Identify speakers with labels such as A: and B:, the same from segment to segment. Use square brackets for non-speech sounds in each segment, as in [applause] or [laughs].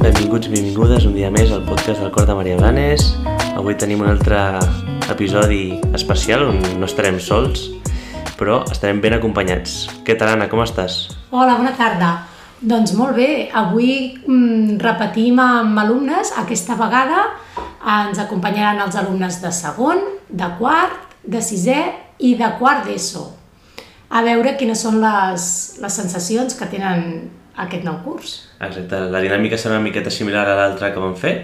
A: benvinguts, benvingudes un dia més al podcast del Cor de Maria Blanes. Avui tenim un altre episodi especial on no estarem sols, però estarem ben acompanyats. Què tal, Anna, com estàs?
B: Hola, bona tarda. Doncs molt bé, avui mm, repetim amb alumnes. Aquesta vegada eh, ens acompanyaran els alumnes de segon, de quart, de sisè i de quart d'ESO. A veure quines són les, les sensacions que tenen aquest nou curs.
A: Exacte, la dinàmica serà una miqueta similar a l'altra que vam fer,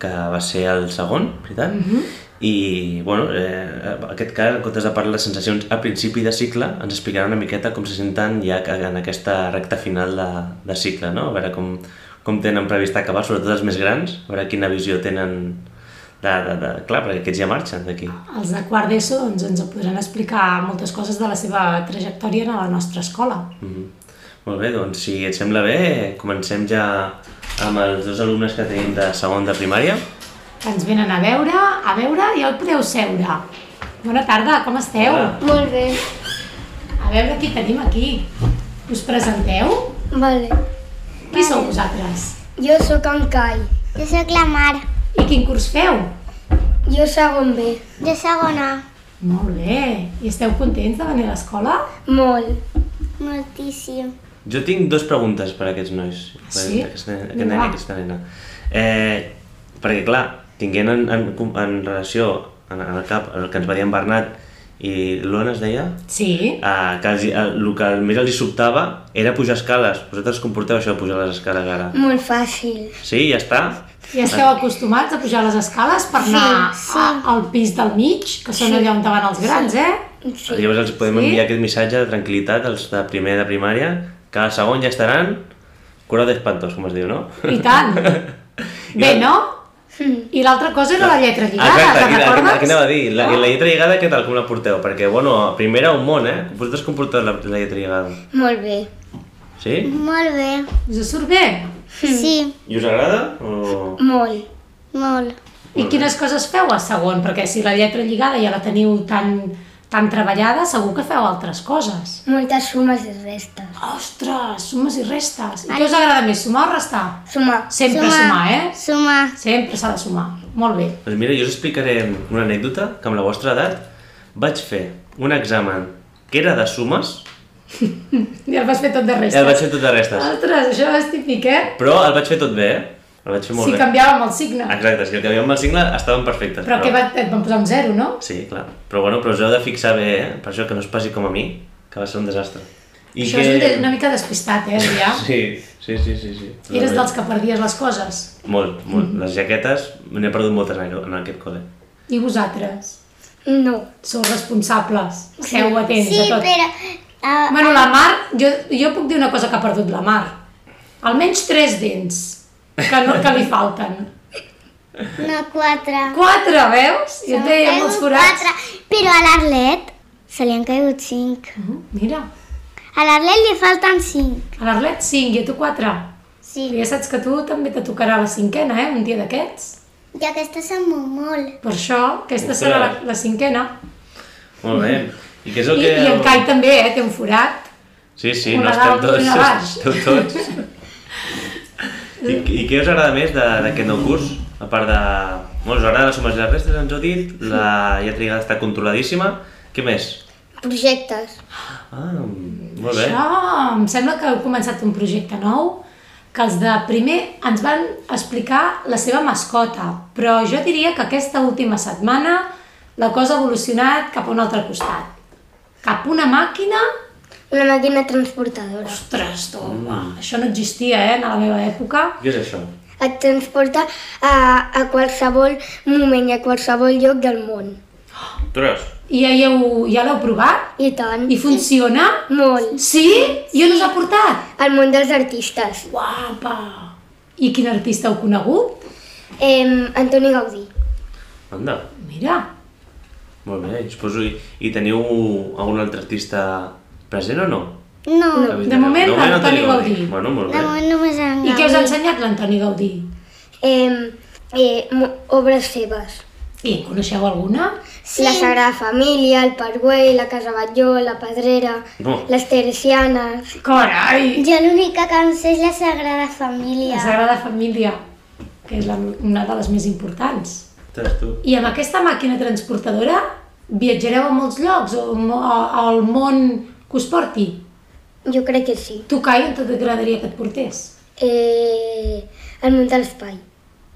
A: que va ser el segon, veritat? Mm -hmm. I, bueno, eh, en aquest cas, en comptes de parlar de sensacions a principi de cicle, ens explicaran una miqueta com se senten ja en aquesta recta final de, de cicle, no? A veure com, com tenen previst acabar, sobretot els més grans, a veure quina visió tenen de, de, de... Clar, perquè aquests ja marxen d'aquí.
B: Els de quart d'ESO doncs, ens podran explicar moltes coses de la seva trajectòria a la nostra escola.
A: Mm -hmm. Molt bé, doncs si et sembla bé, comencem ja amb els dos alumnes que tenim de segon de primària.
B: Que ens venen a veure, a veure, ja el podeu seure. Bona tarda, com esteu?
A: Hola.
C: Molt bé.
B: A veure qui tenim aquí. Us presenteu?
C: Vale.
B: Qui sou vosaltres?
C: Jo sóc en Cai.
D: Jo sóc la Mar.
B: I quin curs feu?
C: Jo segon B.
D: Jo segona.
B: Molt bé. I esteu contents de venir a l'escola?
C: Molt.
D: Moltíssim.
A: Jo tinc dues preguntes per a aquests nois.
B: Ah, sí?
A: Per Aquest, nen- aquest
B: Vinga,
A: nen i
B: va.
A: aquesta nena. Eh, perquè, clar, tinguent en, en, en relació en, en el cap el que ens va dir en Bernat i l'Ona es deia,
B: Sí.
A: eh, que els, el, el que més els hi sobtava era pujar escales. Vosaltres comporteu això de pujar les escales ara?
B: Mm.
C: Molt fàcil.
A: Sí, ja està?
B: I esteu acostumats a pujar les escales per anar
C: sí.
B: a, al pis del mig, que són allà on van els grans, eh?
C: Sí.
A: Llavors els podem
B: Sí?
A: enviar aquest missatge de tranquil·litat als de primer de primària, que al segon ja estaran curats d'espantos, com es diu, no?
B: I
A: [laughs]
B: tant. Bé, no?
C: Hm,
B: I l'altra cosa era la lletra lligada,
A: Exacte,
B: te'n
A: aquí, aquí,
B: recordes?
A: aquí anava a dir, la, i la lletra lligada què tal, com la porteu? Perquè, bueno, primer era un món, eh? Vosaltres com porteu la, la lletra lligada?
C: Molt bé.
A: Sí?
D: Molt bé.
B: Us surt bé?
D: Sí,
A: I us agrada? O...
C: Hm, Molt.
D: molt.
B: I quines coses feu a segon? Perquè si la lletra lligada ja la teniu tan, tan treballada, segur que feu altres coses.
C: Moltes sumes i restes.
B: Ostres, sumes i restes. I què us agrada més, sumar o restar?
C: Sumar.
B: Sempre sumar, eh?
D: Sumar.
B: Sempre s'ha de sumar. Molt bé.
A: Doncs mira, jo us explicaré una anècdota que amb la vostra edat vaig fer un examen que era de sumes
B: I el vas fer tot de
A: i
B: restes. Ah.
A: el vaig fer tot de restes.
B: Ostres, això és típic, eh?
A: Però el vaig fer tot bé, eh? El vaig fer molt
B: si
A: bé.
B: canviàvem el signe.
A: Exacte, és que el que havíem amb el signe estaven perfectes.
B: Però que va, et van posar un zero, no?
A: Sí, clar. Però bueno, però us heu de fixar bé, eh? Per això que no us passi com a mi, que va ser un desastre. I
B: això és un de- una mica despistat, eh, Adrià?
A: Sí, sí, sí, sí. sí.
B: Eres dels que perdies les coses.
A: Molt,
B: Mm-hmm.
A: molt. Les jaquetes n'he perdut moltes en, en aquest col·le.
B: I vosaltres?
C: No.
B: Sou responsables. Seu atents
D: Sí,
B: a tot.
D: però... Uh,
B: Bueno, la Mar, jo, jo puc dir una cosa que ha perdut la Mar. Almenys tres dents que, no, que li falten.
D: no, quatre.
B: Quatre, veus? Jo et deia amb els forats.
D: Quatre. Però a l'Arlet se li han caigut cinc.
B: Mhm, Mira,
D: A l'Arlet li falten cinc.
B: a l'Arlet cinc i a tu quatre.
D: Sí.
B: Ja saps que tu també te tocarà la cinquena, eh? Un dia d'aquests.
D: I aquesta se'n mou molt.
B: Per això, aquesta serà la, la cinquena.
A: Molt bé. I què és
B: Mm-hmm. I,
A: el que...
B: I en Cai també, eh? Té un forat.
A: Sí, sí,
B: una
A: no, esteu
B: dalt,
A: tots.
B: una
A: [laughs]
B: baix.
A: Esteu tots.
B: [laughs]
A: I, I què us agrada més de- d'aquest nou curs? A part de... Bueno, us agrada les sumes i les restes, ens heu dit. La lletra lligada està controladíssima. Què més?
C: Projectes.
A: Ah, molt bé.
B: Això, em sembla que heu començat un projecte nou, que els de primer ens van explicar la seva mascota, però jo diria que aquesta última setmana la cosa ha evolucionat cap a un altre costat. Cap a una màquina...
C: Una màquina transportadora.
B: Ostres,
A: Mm.
B: tu, home, això no existia, eh, en la meva època.
A: Què és això?
C: Et transporta a, a qualsevol moment i a qualsevol lloc del món.
A: Ostres,
B: I ja, hi heu, ja l'heu provat?
C: I tant.
B: I funciona?
C: Molt.
B: Sí? I on us ha portat?
C: Al món dels artistes.
B: Guapa! I quin artista heu conegut?
C: Em, Antoni Gaudí.
A: anda.
B: Mira,
A: Molt bé, suposo. I, I teniu algun altre artista present o no?
D: No.
A: Que
B: de
A: vindrà-
B: moment l'Antoni
A: teniu
B: Gaudí.
A: Bueno, molt
D: De
A: bé.
D: moment només en
B: I què us ha ensenyat l'Antoni Gaudí?
C: Em, eh, mo- obres seves.
B: I en coneixeu alguna?
C: Sí. La Sagrada Família, el Parguell, la Casa Batlló, la Pedrera,
A: No.
C: les Teresianes...
B: Carai!
D: Jo l'única que em sé és la Sagrada Família.
B: La Sagrada Família. que és la, una de les més importants.
A: Ostres, tu.
B: I amb aquesta màquina transportadora viatjareu a molts llocs o, mo- a- al món que us porti.
C: Jo crec que sí.
B: Tu, Kai, on t'agradaria que et portés?
C: Eh, el món de
D: [laughs]
C: l'espai.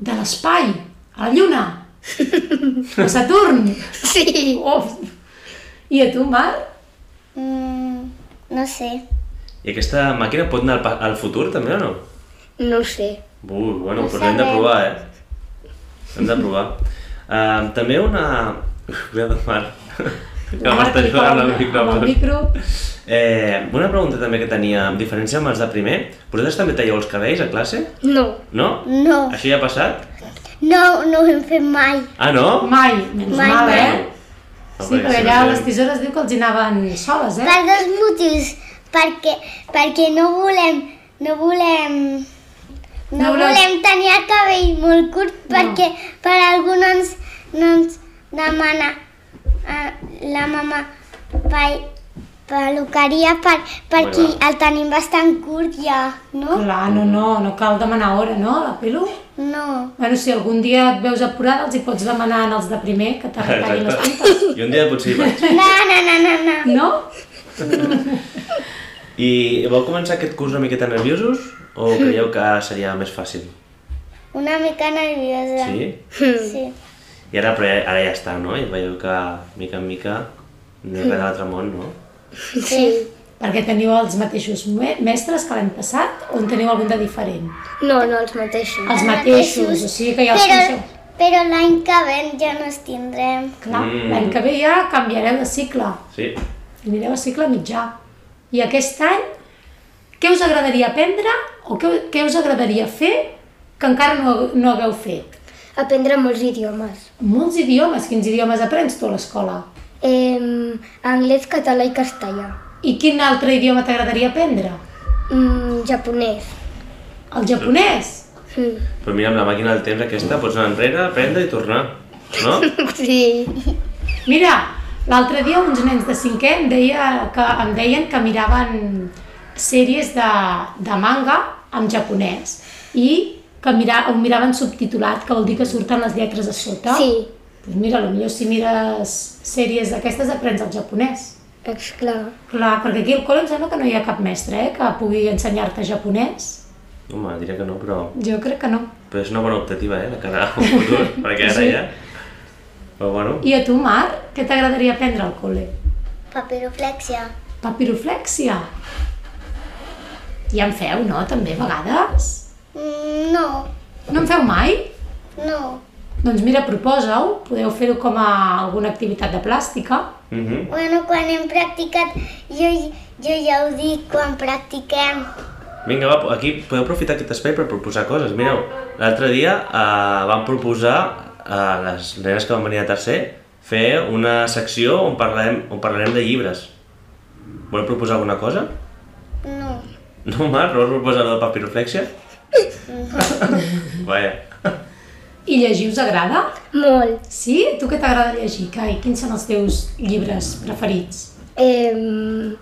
B: De l'espai, a la Lluna, a Saturn.
C: Sí.
B: Uf. I a tu, Mar?
D: Mm, no sé.
A: I aquesta màquina pot anar al, pa- al futur també o no?
C: No ho sé.
A: Ui, bueno,
D: No
A: però l'hem de
D: sabem.
A: provar, eh? L'hem de provar. Uh, també una... Cuidado, Mar. Que
B: Mar,
A: m'estàs
B: clica
A: jugant
B: amb-
A: el
B: amb el
A: micròfon.
B: micro.
A: Eh, una pregunta també que tenia, amb diferència amb els de primer, vosaltres també talleu els cabells a classe?
C: No.
A: No?
D: No,
A: Això ja ha passat?
D: no, no ho hem fet mai.
A: Ah, no?
B: Mai, menys
D: Mai,
B: mal,
D: mai.
B: eh?
A: No,
B: Sí, perquè
A: si no
B: allà
A: sabem.
B: les tisores diu que els hi anaven soles, eh?
D: Per dos motius. Perquè, perquè no volem... No volem... No,
B: No voleu-
D: volem tenir el cabell molt curt perquè per algú no ens, no ens demana eh, la mama pel, peluqueria per, perquè
A: Molt bé.
D: el tenim bastant curt ja, no?
B: Clar, no, no, no cal demanar hora, no, a la pelu?
D: No.
B: Bueno, si algun dia et veus apurada, els hi pots demanar als de primer que te retallin les puntes,
A: I un dia potser hi vaig.
D: No, no, no, no, no.
B: no?
A: I vau començar aquest curs una miqueta nerviosos o creieu que seria més fàcil?
D: Una mica nerviosa.
A: Sí?
D: Sí.
A: I ara, però ja- ara ja està, no? I veieu que, mica en mica, no és res de l'altre món, no?
D: sí.
B: Perquè teniu els mateixos me- mestres que l'any passat o en teniu algun de diferent?
C: No, no els mateixos.
B: Els
D: Els
B: mateixos,
D: mateixos,
B: o sigui que ja els
D: però,
B: coneixeu.
D: però l'any que ven ja no els tindrem.
B: Clar,
A: Mm.
B: l'any que ve ja canviareu de cicle,
A: Sí.
B: anireu a cicle mitjà. I aquest any, què us agradaria aprendre o què, què us agradaria fer que encara no, no hagueu fet?
C: Aprendre molts idiomes.
B: Molts idiomes, quins idiomes aprens tu a l'escola?
C: Eh, anglès, català i castellà.
B: I quin altre idioma t'agradaria aprendre?
C: Mm, japonès.
B: El japonès?
C: Mm.
A: Però mira, amb la màquina del temps aquesta pots anar enrere, aprendre i tornar, no?
C: Sí.
B: Mira, l'altre dia uns nens de cinquè em, deia que, em deien que miraven sèries de, de manga en japonès i que mira, ho miraven subtitulat, que vol dir que surten les lletres a sota.
C: Sí.
B: Doncs mira, potser si mires sèries d'aquestes aprens el japonès.
C: Esclar.
B: Clar, perquè aquí al col·le em sembla que no hi ha cap mestre eh, que pugui ensenyar-te japonès.
A: Home, diré que no, però,
B: Jo crec que no.
A: però és una bona optativa, eh? La cara al futur, perquè ara
B: Sí.
A: ja... Però bueno,
B: I a tu, Mar, què t'agradaria aprendre al col·le?
D: Papiroflexia.
B: Papiroflèxia. I en feu, no? També, a vegades?
D: Mm, no,
B: No en feu mai?
D: no.
B: Doncs mira, proposa-ho. Podeu fer-ho com a alguna activitat de plàstica.
A: mm -hmm.
D: Bueno, quan hem practicat, jo, jo ja ho dic, quan practiquem.
A: Vinga, va, aquí podeu aprofitar aquest espai per proposar coses. Mireu, l'altre dia eh, vam proposar a les nenes que van venir a tercer fer una secció on parlarem, on parlarem de llibres. Voleu proposar alguna cosa?
D: No.
A: No, Marc, no vols proposar allò de papiroflexia? Vaja.
B: I llegir us agrada?
C: Molt.
B: Sí? A Tu què t'agrada llegir, Kai? Quins són els teus llibres preferits?
C: Eh, no,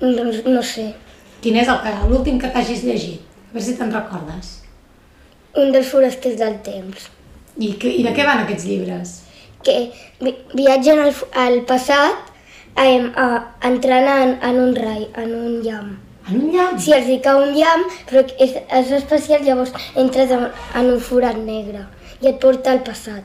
C: doncs, no sé.
B: Quin és el que l'últim que t'hagis llegit? A veure si te'n recordes.
C: Un dels forasters del temps.
B: I, que, I de què van aquests llibres?
C: Que vi viatgen al, fu- al passat em, a, entrant en, en un rai, en un llamp.
B: En un llamp?
C: Si els hi cau un llamp, però és, és especial, llavors entres en, en un forat negre i et porta al passat.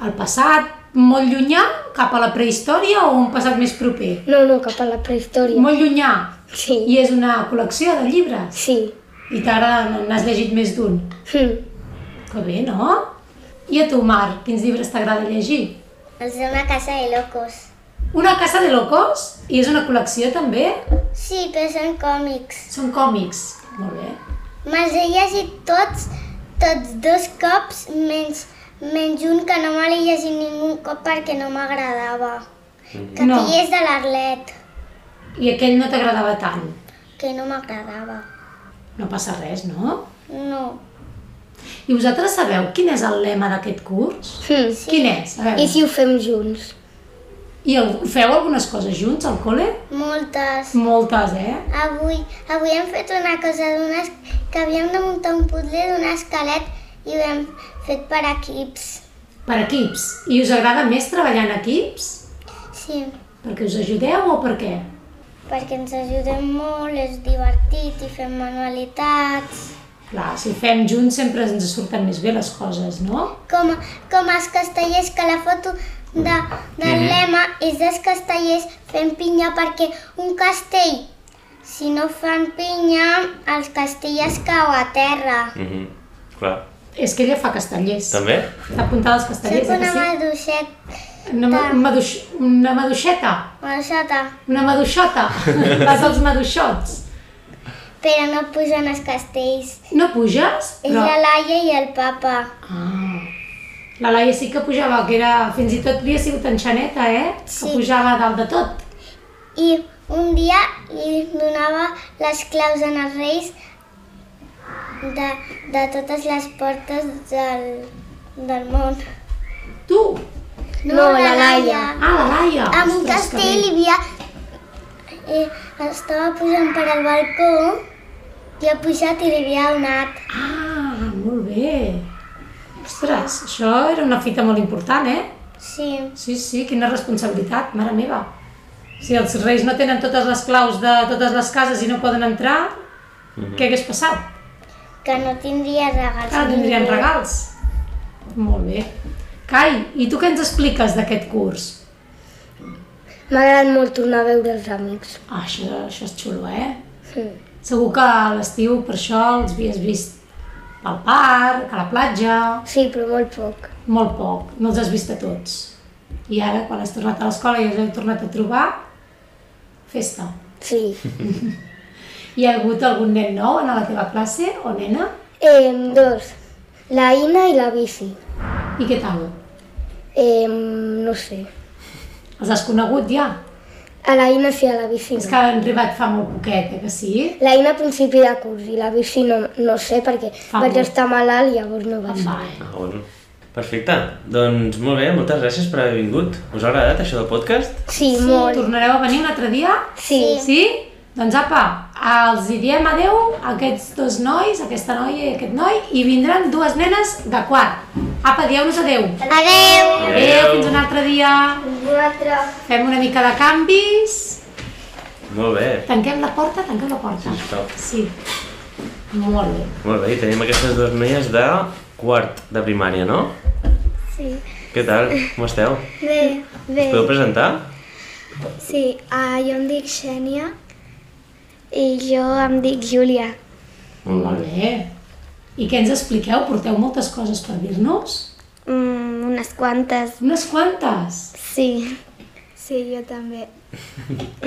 B: El passat molt llunyà, cap a la prehistòria o un passat més proper?
C: No, no, cap a la prehistòria.
B: Molt llunyà.
C: Sí.
B: I és una col·lecció de llibres.
C: Sí.
B: I t'agrada, n'has llegit més d'un.
C: Hm.
B: Que bé, no? I a tu, Marc, quins llibres t'agrada llegir?
D: Els d'una casa de locos.
B: Una casa de locos? I és una col·lecció també?
D: Sí, però són còmics.
B: Són còmics. Molt bé.
D: Me'ls he llegit tots, tots dos cops, menys, menys un que no me l'he llegit ningú cop perquè no m'agradava. Que
B: No.
D: no. és de l'Arlet,
B: I aquell no t'agradava tant.
D: que no m'agradava.
B: No passa res, no?
D: No.
B: I vosaltres sabeu quin és el lema d'aquest curs?
C: Hm.
B: Quin és? A veure.
C: I si ho fem junts?
B: I el, feu algunes coses junts al col·le?
D: Moltes.
B: Moltes, eh?
D: Avui, avui hem fet una cosa d'unes que havíem de muntar un puzzle d'un esquelet i ho hem fet per equips.
B: Per equips. I us agrada més treballar en equips?
D: Sí,
B: Perquè us ajudeu o per què?
D: perquè ens ajudem molt, és divertit i fem manualitats.
B: Clar, si fem junts sempre ens surten més bé les coses, no?
D: Com, com els castellers, que la foto de, del lema és dels castellers fent pinya perquè un castell, si no fan pinya, els castellers cau a terra.
A: Mhm. Clar.
B: És que ella fa castellers.
A: També?
B: Està apuntada als castellers,
D: Sóc
B: eh
D: una
B: que sí?
D: maduixeta.
B: Una, ma- un maduix- una maduixeta,
D: Maduixeta.
B: una maduixota. Vas als maduixots.
D: Però no pugen els castells.
B: No puges?
D: És la Laia i el papa.
B: Ah. La Laia sí que pujava, que era... Fins i tot havia sigut en Xaneta, eh?
D: Sí.
B: Que pujava a dalt de tot.
D: I un dia li donava les claus en els reis de, de totes les portes del, del món.
B: Tu!
C: No, la Laia.
B: Ah, la Laia!
D: En un
B: Ostres, que
D: castell hi
B: bé.
D: havia... Eh, estava pujant per al balcó i ha pujat i li havia donat.
B: Ah, molt bé. Ostres, això era una fita molt important, eh?
D: Sí,
B: Sí, sí, quina responsabilitat, mare meva. Si els reis no tenen totes les claus de totes les cases i no poden entrar, què hagués passat?
D: que no tindria regals.
B: Ara Ah, tindrien
D: ningú.
B: regals. Molt bé. Cai, i tu què ens expliques d'aquest curs?
C: M'ha agradat molt tornar a veure els amics. Hm.
B: Ah, això, això és xulo, eh?
C: Sí.
B: Segur que a l'estiu per això els havies vist al parc, a la platja,
C: Sí, però molt poc.
B: molt poc, no els has vist a tots. I ara, quan has tornat a l'escola i els heu tornat a trobar, festa. [laughs]
C: Sí.
B: Hi ha hagut algun nen nou en la teva classe o nena?
C: Em, dos. La Ina i la bici.
B: I què tal?
C: Em, no sé.
B: Els has conegut ja?
C: A la Ina sí, a la bici
B: És
C: no.
B: que han arribat fa molt poquet, eh, que sí?
C: La Ina a principi de curs i la bici no, no sé perquè
B: Fa
C: vaig
B: Ah, molt.
C: estar malalt i llavors no vaig.
B: Em va, eh?
A: Ah, bueno. Perfecte. Doncs molt bé, moltes gràcies per haver vingut. Us ha agradat això del podcast?
C: Sí, molt.
B: Tornareu a venir un altre dia?
C: Sí.
B: Sí? Doncs apa, els hi diem adeu a aquests dos nois, aquesta noia i aquest noi, i vindran dues nenes de quart. Apa, dieu-nos adeu.
D: Adeu!
B: Adeu, fins un altre dia.
D: Nosaltres...
B: Fem una mica de canvis.
A: Molt bé.
B: Tanquem la porta, tanquem la porta.
A: Sisplau.
B: Sí. Molt bé.
A: Molt bé, i tenim aquestes dues noies de quart de primària, no?
D: Sí.
A: Què tal? Com esteu?
D: Bé,
A: Us
D: bé.
A: podeu presentar?
D: Sí, uh, jo em dic Xènia i jo em dic Júlia.
B: Molt bé. I què ens expliqueu? Porteu moltes coses per dir-nos?
D: Mm, unes quantes.
B: Unes quantes.
D: Sí. Sí, jo també.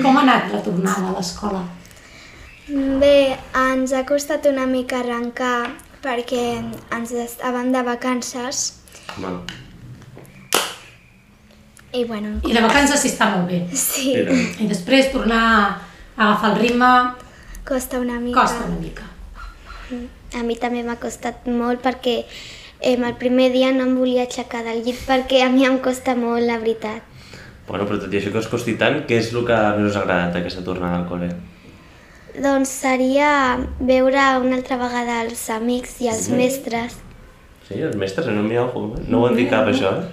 B: Com ha anat la tornada a l'escola?
D: Bé, ens ha costat una mica arrencar perquè ens estàvem de vacances
A: Bueno,
D: i bueno,
B: I de vacances sí està molt bé.
D: sí,
A: mira.
B: I després tornar a agafar el ritme
D: costa una mica.
B: costa una mica.
D: A mi també m'ha costat molt perquè eh, el primer dia no em volia aixecar del llit perquè a mi em costa molt, la veritat.
A: Bueno, però tot i això que us costi tant, què és el que més us ha agradat aquesta tornada al col·le?
D: Doncs seria veure una altra vegada els amics i els mestres.
A: Sí, els mestres, eh? no m'hi No ho han dit cap, això, eh?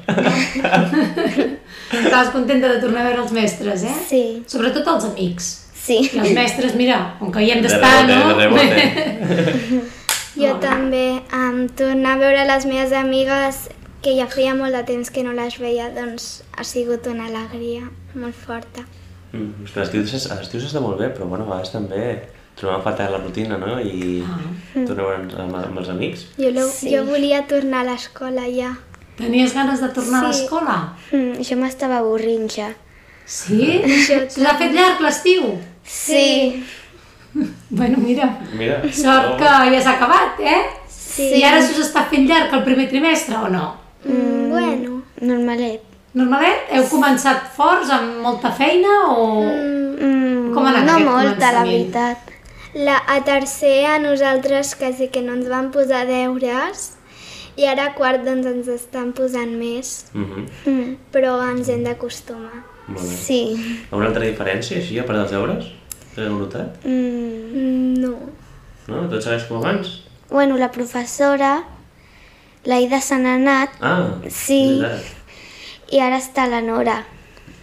B: Estaves contenta de tornar a veure els mestres, eh?
D: Sí,
B: Sobretot els amics.
D: sí.
B: I els mestres, mira, on que hi hem
A: De
B: d'estar,
A: rebote,
B: no?
A: de rebote.
E: Jo també, um, tornar a veure les meves amigues, que ja feia molt de temps que no les veia, doncs ha sigut una alegria molt forta.
A: Mm, és que l'estiu s'es- a l'estiu s'està molt bé, però bueno, a vegades també trobem a faltar la rutina, no? I tornem amb, amb, amb els amics.
E: Jo, lo, jo volia tornar a l'escola ja.
B: Tenies ganes de tornar a l'escola?
D: Mm, jo m'estava avorrint ja.
B: Sí? Us ha fet llarg l'estiu?
D: Sí.
B: Bueno, mira,
A: Mira,
B: sort que ja s'ha acabat, eh? Sí. I ara se us està fent llarg el primer trimestre o no?
E: Mm. Bueno,
D: Normalet.
B: Normalet, heu començat forts, amb molta feina o...
D: Mm,
B: Com ha anat
D: no
B: aquest
D: molta, la
B: començament?
D: veritat.
E: la, a tercer a nosaltres quasi que no ens van posar deures i ara a quart doncs ens estan posant més,
A: Mm -hmm.
D: Mm,
E: però ens hem d'acostumar.
A: Molt bé.
D: sí.
A: Una altra diferència, així, a part dels deures? Que heu notat?
D: Mm.
E: Mm, no.
A: No? Tot segueix com abans?
D: Bueno, la professora
E: l'Aida se n'ha anat
A: Ah, és
E: Sí.
A: veritat.
E: i ara està la Nora.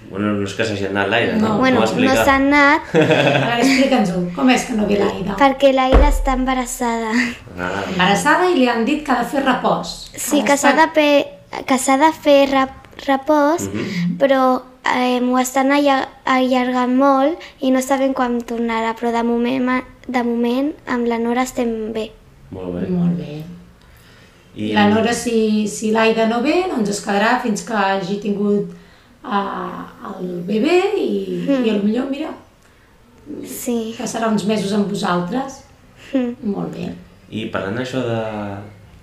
A: Bueno, no és que s'hagi anat l'aire,
B: No.
A: no?
E: bueno,
A: no
E: no s'ha anat
B: A veure, explica'ns-ho. Com és que no ve l'Aida?
E: perquè l'Aida està embarassada.
A: Ah,
B: Embarassada i li han dit que ha de fer repòs.
E: Sí,
B: Ha
E: que s'ha
B: d'estar-
E: de, pe- que s'ha de fer rap, repòs,
A: Mhm.
E: però eh, ho estan alla- allargant molt i no sabem quan tornarà, però de moment, ma- de moment amb la Nora estem bé.
A: molt bé.
B: Molt bé.
A: I,
B: La Nora, si, si l'Aida no ve, doncs es quedarà fins que hagi tingut eh, el bebè i, mm. i potser, mira,
E: Sí.
B: passarà uns mesos amb vosaltres.
E: Mm.
B: Molt bé.
A: I parlant d'això de,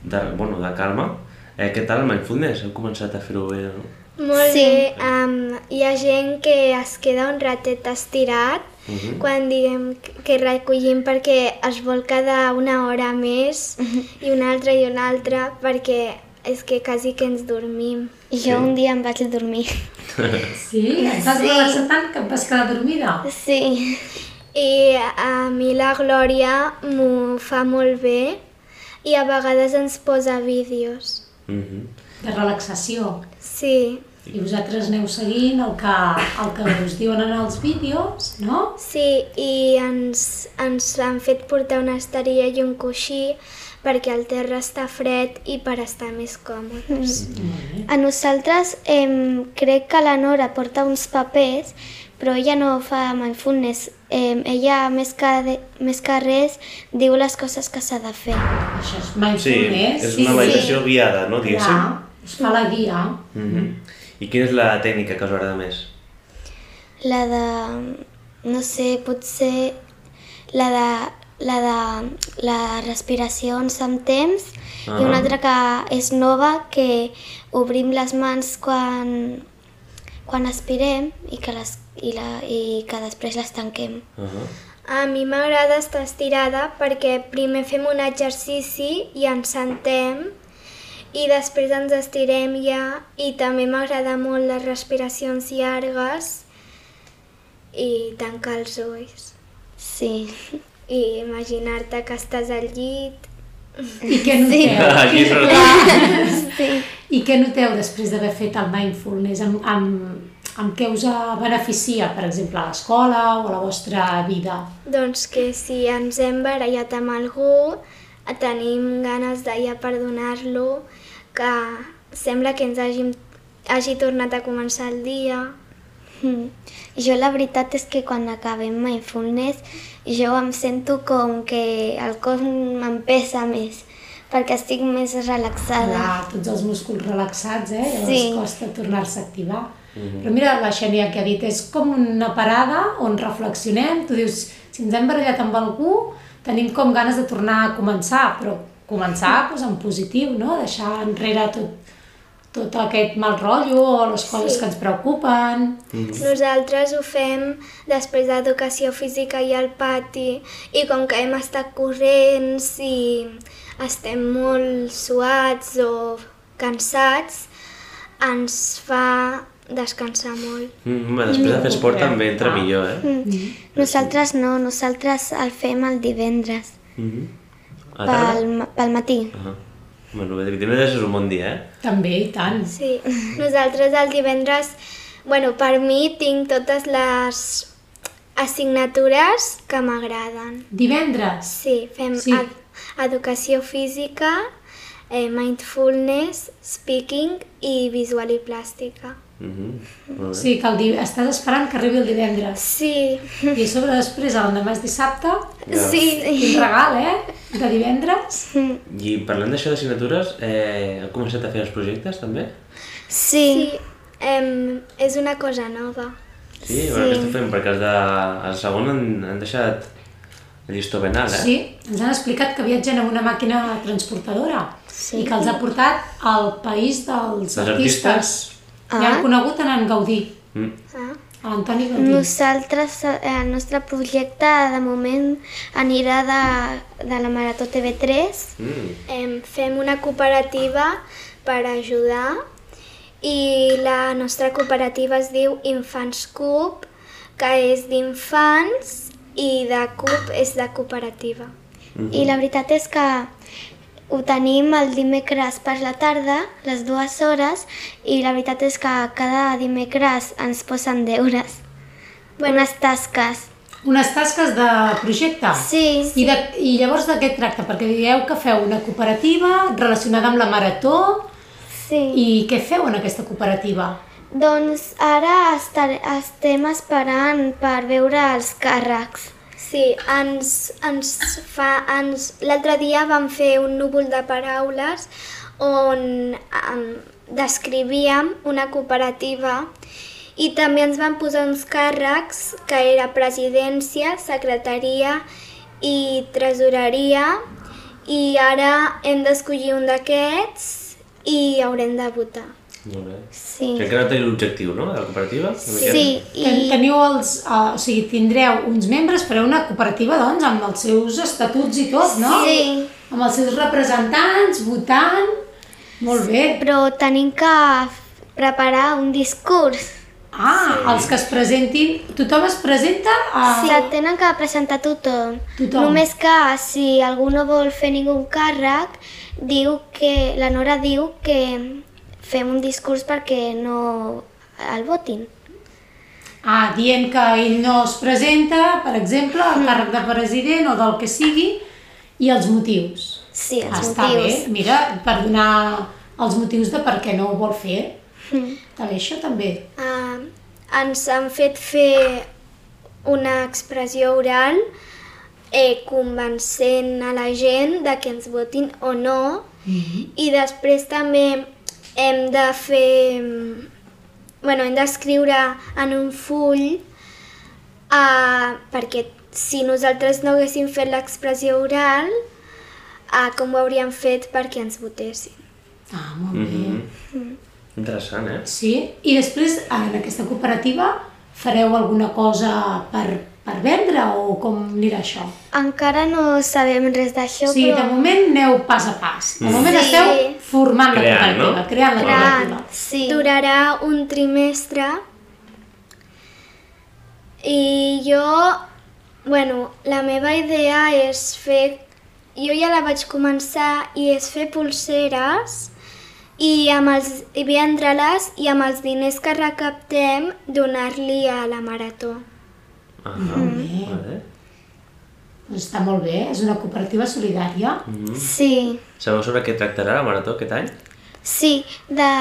A: de, bueno, de calma, eh, què tal el mindfulness? Heu començat a fer-ho bé,
B: [laughs]
A: no?
F: Molt
E: Sí.
F: sí. bé, um, hi ha gent que es queda un ratet estirat
A: Mhm.
F: quan diguem que recollim perquè es vol quedar una hora més
E: Mhm.
F: i una altra i una altra perquè és que quasi que ens dormim.
E: I
A: Sí.
E: jo un dia em vaig dormir.
B: Sí? Et vas
E: Sí.
B: relaxar tant que et vas quedar dormida?
E: Sí.
F: I a mi la Glòria m'ho fa molt bé i a vegades ens posa vídeos.
A: Mm -hmm.
B: De relaxació.
F: Sí,
B: I vosaltres aneu seguint el que, el que us diuen en els vídeos, no?
F: Sí, i ens, ens han fet portar una estaria i un coixí perquè el terra està fred i per estar més còmodes.
B: Molt bé.
E: A nosaltres em, crec que la Nora porta uns papers, però ella no fa mindfulness. Em, ella, més que, de, més que res, diu les coses que s'ha de fer.
B: Això és
A: Sí,
B: mindfulness.
A: és una meditació guiada, no, diguéssim?
B: Clar, us fa la guia.
A: Mm I quina és la tècnica que us agrada més?
E: La de... no sé, potser la de la de les respiracions amb temps i
A: Ah.
E: una altra que és nova que obrim les mans quan quan aspirem i que, les, i, la, i que després les tanquem.
A: Uh -huh.
F: A mi m'agrada estar estirada perquè primer fem un exercici i ens sentem i després ens estirem ja i també m'agrada molt les respiracions llargues i tancar els ulls
E: Sí.
F: i imaginar-te que estàs al llit
B: I què noteu?
A: [laughs] Aquí és on-
E: sí.
B: I què noteu després d'haver fet el mindfulness? Amb, amb, amb què us eh, beneficia, per exemple, a l'escola o a la vostra vida?
F: Doncs que si ens hem barallat amb algú, tenim ganes de ja perdonar-lo, que sembla que ens hagi, hagi tornat a començar el dia.
E: Mm. Jo la veritat és que quan acabem mindfulness jo em sento com que el cos m'empesa més perquè estic més relaxada.
B: Clar, tots els músculs relaxats, eh? Llavors
E: Sí.
B: costa tornar-se a activar. Però mira, la Xènia que ha dit, és com una parada on reflexionem, tu dius, si ens hem barallat amb algú, tenim com ganes de tornar a començar, però començar doncs, en positiu, no? Deixar enrere tot, tot aquest mal rotllo o les coses que ens preocupen.
F: Mm. Nosaltres ho fem després d'educació física i al pati, i com que hem estat corrents i estem molt suats o cansats, ens fa descansar molt.
A: Mm, home, després de fer esport també entra
B: Ah.
A: millor, eh?
E: Mm. Nosaltres no, nosaltres el fem el divendres,
A: Mm -hmm. A la tarda?
E: pel, ma- pel matí.
A: Ah. Bueno, bé, divendres és un bon dia, eh?
B: També, i tant.
F: Sí, nosaltres el divendres, bueno, per mi tinc totes les assignatures que m'agraden.
B: Divendres.
F: Sí, fem
B: Sí.
F: sí. Ed educació física, eh, mindfulness, speaking i visual i plàstica.
A: Mm -hmm. Molt bé.
B: Sí, que el di... estàs esperant que arribi el divendres.
F: Sí,
B: I a sobre després, l'endemà és dissabte,
A: Ja.
F: sí,
B: quin regal, eh? De divendres.
A: I parlant d'això d'assignatures, eh, heu començat a fer els projectes també?
E: Sí,
F: sí. Em, és una cosa nova.
A: Sí, sí. Bueno, què esteu fent? Perquè els de el segon han, han deixat el llistó ben alt, eh?
B: Sí, ens han explicat que viatgen amb una màquina transportadora sí. i que els ha portat al país dels
A: Dels
B: artistes.
A: artistes.
B: Ah. Ja han conegut en en Gaudí,
A: Mm.
F: Ah.
B: a l'Antoni Gaudí.
E: Mm. nosaltres, eh, el nostre projecte de moment anirà de, de la Marató TV3.
A: Mm.
F: Em, fem una cooperativa per ajudar i la nostra cooperativa es diu Infants Cup, que és d'infants i de CUP és de cooperativa.
E: I la veritat és que Ho tenim el dimecres per la tarda, les dues hores, i la veritat és que cada dimecres ens posen deures, unes tasques.
B: Unes tasques de projecte?
E: Sí,
B: I, de, I llavors de què tracta? Perquè dieu que feu una cooperativa relacionada amb la Marató
E: sí.
B: i què feu en aquesta cooperativa?
E: Doncs ara estar, estem esperant per veure els càrrecs.
F: Sí, ens, ens fa... Ens... L'altre dia vam fer un núvol de paraules on um, descrivíem una cooperativa i també ens van posar uns càrrecs que era presidència, secretaria i tresoreria i ara hem d'escollir un d'aquests i haurem de votar.
A: Molt bé.
E: Sí.
A: Crec que no teniu l'objectiu, no?, de la cooperativa?
E: Sí,
B: Ten-
E: i
B: Teniu els, eh, o sigui, tindreu uns membres, fareu una cooperativa, doncs, amb els seus estatuts i tot, no?
E: Sí.
B: Amb els seus representants, votant... Molt bé.
E: però tenim que f- preparar un discurs.
B: Ah, els que es presentin... Tothom es presenta a...
E: Sí. Se tenen que presentar tothom.
B: Tothom.
E: Només que si algú no vol fer ningú càrrec, diu que la Nora diu que fem un discurs perquè no el votin.
B: Ah, dient que ell no es presenta, per exemple,
E: Mm.
B: al càrrec de president o del que sigui, i els motius.
E: Sí, els
B: Està
E: motius.
B: bé, mira, per donar els motius de per què no ho vol fer.
E: Mm.
B: Està bé, això també.
F: Uh, ens han fet fer una expressió oral eh, convencent a la gent de que ens votin o no i després també hem de fer... mm, Bueno, hem d'escriure en un full uh, perquè si nosaltres no haguéssim fet l'expressió oral, uh, com ho hauríem fet perquè ens votessin.
B: Ah, molt
A: Mm
B: bé.
A: Interessant, eh?
B: Sí, i després en aquesta cooperativa fareu alguna cosa per, per vendre o com anirà això?
E: Encara no sabem res d'això,
B: O sigui, de
E: però...
B: moment aneu pas a pas. De moment
F: Sí.
B: esteu formant
A: Mm. Creant,
B: la cooperativa,
A: no?
B: creant la
F: Creant.
B: cooperativa.
E: Sí.
F: durarà un trimestre i jo, bueno, la meva idea és fer, jo ja la vaig començar i és fer pulseres i, amb els, i vendre-les i amb els diners que recaptem donar-li a la Marató.
A: Ah, molt bé.
B: Doncs està molt bé, és una cooperativa solidària.
A: Mm.
E: Sí.
A: Sabeu sobre què tractarà la Marató aquest any?
E: Sí, de,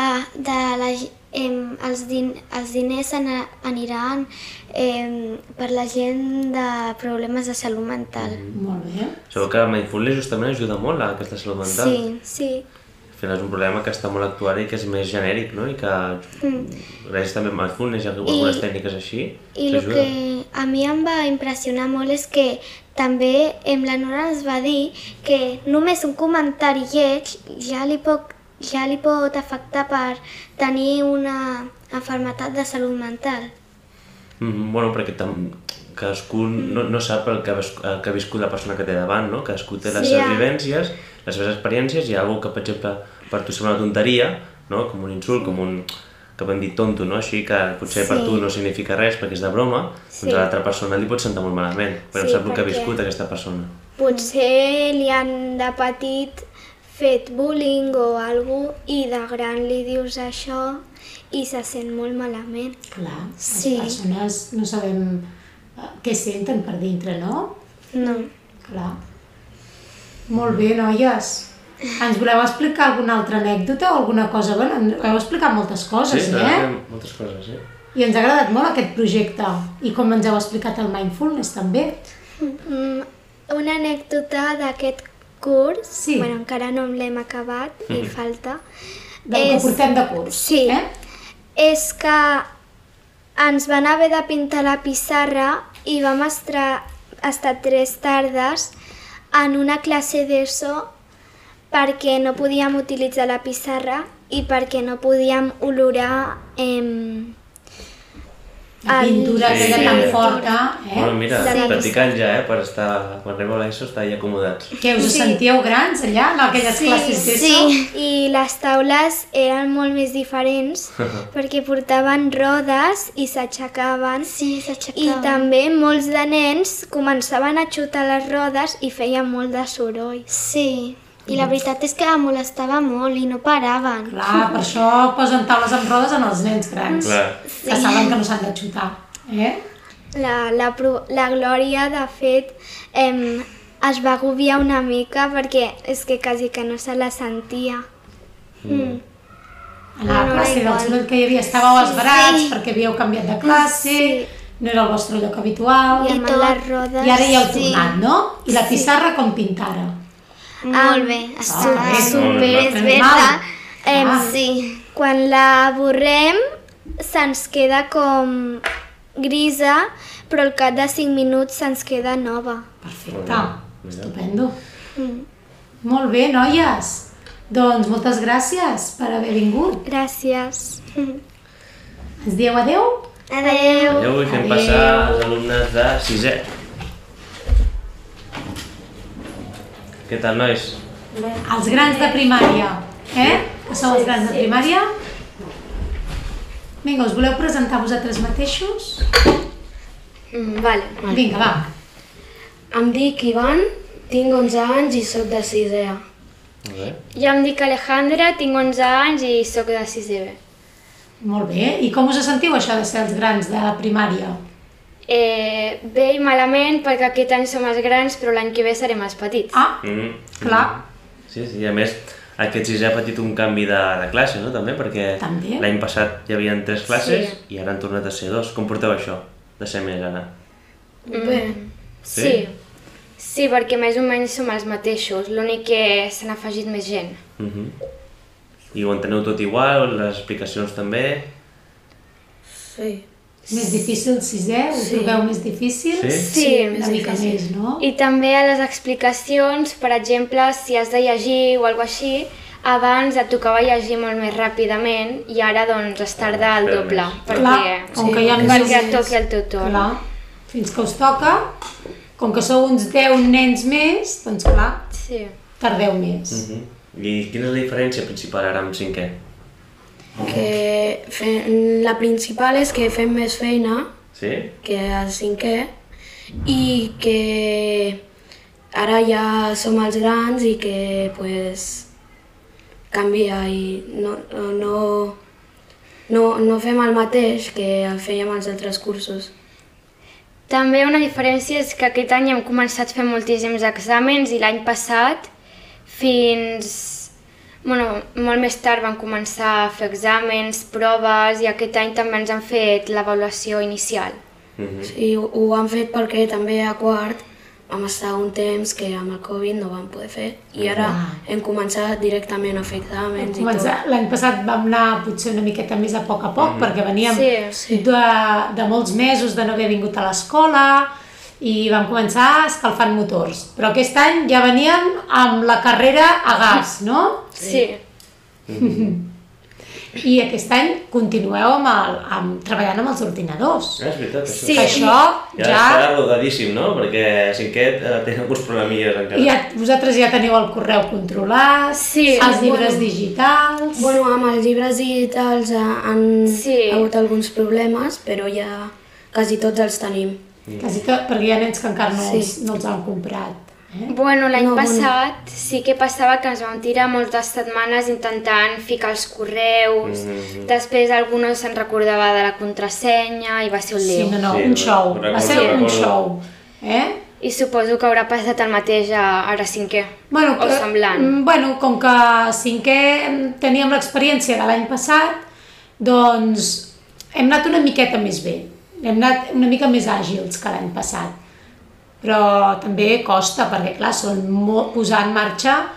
E: de la, ge- em, els, din, els diners ana- aniran em, per la gent de problemes de salut mental.
B: Molt bé.
A: Sabeu que Mindfulness justament ajuda molt a aquesta salut mental.
E: Sí,
F: Sí,
A: Al final és un problema que està molt actual i que és més genèric, no? I que
F: Mm.
A: gràcies també a Mindfulness i a algunes
E: I-
A: tècniques així
E: i el
A: s'ajuda.
E: que a mi em va impressionar molt és que també em la Nora ens va dir que només un comentari lleig ja li pot, ja li pot afectar per tenir una enfermetat de salut mental.
A: Mm, bueno, perquè tam... cadascú no,
F: Mm.
A: no sap el que, ha vis- el que ha viscut la persona que té davant, no? Cadascú té les
F: Sí,
A: seves
F: ja.
A: vivències, les seves experiències, i alguna que, per exemple, per tu sembla una tonteria, no? Com un insult, com un que vam dir tonto, no? Així que potser per
E: Sí.
A: tu no significa res perquè és de broma,
F: Sí.
A: doncs a l'altra persona li pot sentar molt malament, però
F: Sí,
A: no sap el que ha
F: perquè-
A: viscut aquesta persona.
F: potser li han de petit fet bullying o algú i de gran li dius això i se sent molt malament.
B: Clar, les
E: Sí.
B: persones no sabem eh, què senten per dintre, no?
E: No.
B: Clar. Molt bé, noies. Ens voleu explicar alguna altra anècdota o alguna cosa? Bé, en- heu explicat moltes coses,
A: Sí,
B: eh?
A: eh? moltes coses, eh?
B: I ens ha agradat molt aquest projecte. I com ens heu explicat el Mindfulness, també.
F: Mm, una anècdota d'aquest curs,
B: Sí.
F: bueno, encara no l'hem acabat i
E: Mm-hmm.
F: falta,
B: Del que
F: És-
B: portem de curs,
F: sí.
B: eh?
F: és que ens van haver de pintar la pissarra i vam estar, estar tres tardes en una classe d'ESO perquè no podíem utilitzar la pissarra i perquè no podíem olorar em,
B: La
F: El-
B: pintura
A: Sí,
B: aquella
A: sí.
B: tan forta, eh?
A: Bueno, mira,
F: Sí.
A: practicant ja, eh? Per estar... Quan arribo a l'ESO, estar ja acomodats.
B: Que us
F: Sí.
B: sentíeu grans allà, en aquelles classes d'ESO?
F: Sí, i les taules eren molt més diferents perquè portaven rodes i s'aixecaven.
E: Sí,
F: I
E: s'aixecaven.
F: també molts de nens començaven a xutar les rodes i feien molt de soroll.
E: Sí, I la veritat és que molestava molt i no paraven.
B: Clar, per això posen taules amb rodes en els nens grans,
A: Clar.
B: que saben que no s'han de xutar. Eh?
F: La, la, pro- la Glòria, de fet, em, es va agobiar una mica perquè és que quasi que no se la sentia.
B: A la classe del soroll que hi havia estàveu esbarats perquè havíeu canviat de classe, no era el vostre lloc habitual,
F: I amb
E: tot.
F: les rodes...
B: i ara ja heu tornat, no? I la pissarra com pintada.
E: Molt bé,
B: està Ah, bé.
E: super,
A: Molt
E: és
B: bé.
E: verdad. Em,
B: Ah.
E: sí.
F: Quan la borrem se'ns queda com grisa, però al cap de 5 minuts se'ns queda nova.
B: Perfecte, estupendo. Mm. Molt bé, noies. Doncs moltes gràcies per haver vingut.
F: Gràcies.
B: Ens dieu adeu?
E: Adeu.
A: Ja avui fem
B: Adéu.
A: passar als alumnes de sisè. Què tal, nois?
B: Els grans de primària, eh? Que sou els grans de primària? Vinga, us voleu presentar vosaltres mateixos?
G: Mm, vale.
B: Vinga, va.
G: Em dic Ivan, tinc 11 anys i sóc de 6 A.
A: Molt bé.
H: Jo em dic Alejandra, tinc 11 anys i sóc de 6è B.
B: Molt bé. I com us sentiu això de ser els grans de primària?
H: Eh, bé i malament perquè aquest any som els grans però l'any que ve serem els petits.
B: Ah,
A: Mm.
B: clar.
A: Sí, sí, a més, aquest sisè ha patit un canvi de, de classe, no? També, perquè
B: També.
A: l'any passat hi havia tres classes i ara han tornat a ser dos. Com porteu això de ser més ara?
G: Bé,
A: Sí.
H: sí. Sí, perquè més o menys som els mateixos, l'únic que s'han afegit més gent.
A: Uh -huh. I ho enteneu tot igual, les explicacions també?
G: sí.
B: Més difícil sisè? Ho trobeu més difícil?
A: Sí?
H: Sí,
B: Una mica més, no?
H: i també a les explicacions, per exemple, si has de llegir o alguna així, abans et tocava llegir molt més ràpidament i ara doncs es tarda el
A: Espera
H: doble,
A: més.
B: Clar,
H: perquè,
B: com que hi ha més
H: perquè et toqui el tutor.
B: Clar, fins que us toca, com que sou uns 10 nens més, doncs clar,
H: Sí.
B: tardeu més.
A: Uh -huh. I quina és la diferència principal ara amb cinquè?
G: Que fe- la principal és que fem més feina
A: Sí?
G: que el cinquè i que ara ja som els grans i que pues, canvia i no, no, no, no fem el mateix que fèiem els altres cursos.
H: També una diferència és que aquest any hem començat fent moltíssims exàmens i l'any passat fins... Bueno, molt més tard van començar a fer exàmens, proves i aquest any també ens han fet l'avaluació inicial.
A: Uh -huh.
G: Sí, ho, ho han fet perquè també a quart vam estar un temps que amb el Covid no vam poder fer i ara hem començat directament a fer exàmens i tot.
B: Començar- L'any passat vam anar potser una miqueta més a poc a poc, perquè veníem
H: Sí,
G: sí.
B: De, de molts mesos de no haver vingut a l'escola i vam començar escalfant motors. Però aquest any ja veníem amb la carrera a gas, no?
H: Sí,
B: I aquest any continueu amb el, amb, treballant amb els ordinadors.
A: Ah, és veritat, això.
H: Sí.
B: Que Això
A: Ja,
B: ja...
A: està rodadíssim, no? Perquè cinquè eh, té alguns problemilles encara.
B: I ja, vosaltres ja teniu el correu controlat,
H: Sí.
B: els llibres digitals...
G: Bueno, amb els llibres digitals eh, han
H: Sí.
G: hagut alguns problemes, però ja quasi tots els tenim.
B: Quasi tot, perquè hi ha nens que encara no,
G: Sí.
B: els, no els han comprat. Eh?
H: Bueno, l'any
G: No, bueno.
H: passat sí que passava que ens vam tirar moltes setmanes intentant ficar els correus,
A: Mhm.
H: després algú no se'n recordava de la contrasenya i va ser un
B: Sí,
H: lío.
B: no, no,
A: Sí,
B: un
A: ho
B: xou.
A: recordo,
B: Va ser
A: ho
B: un
A: recordo.
B: xou. Eh?
H: I suposo que haurà passat el mateix a, ara cinquè.
B: Bueno,
H: O semblant.
B: mm, Bueno, com que cinquè teníem l'experiència de l'any passat, doncs hem anat una miqueta més bé. Hem anat una mica més àgils que l'any passat. Però també costa, perquè clar, són mo- posar en marxa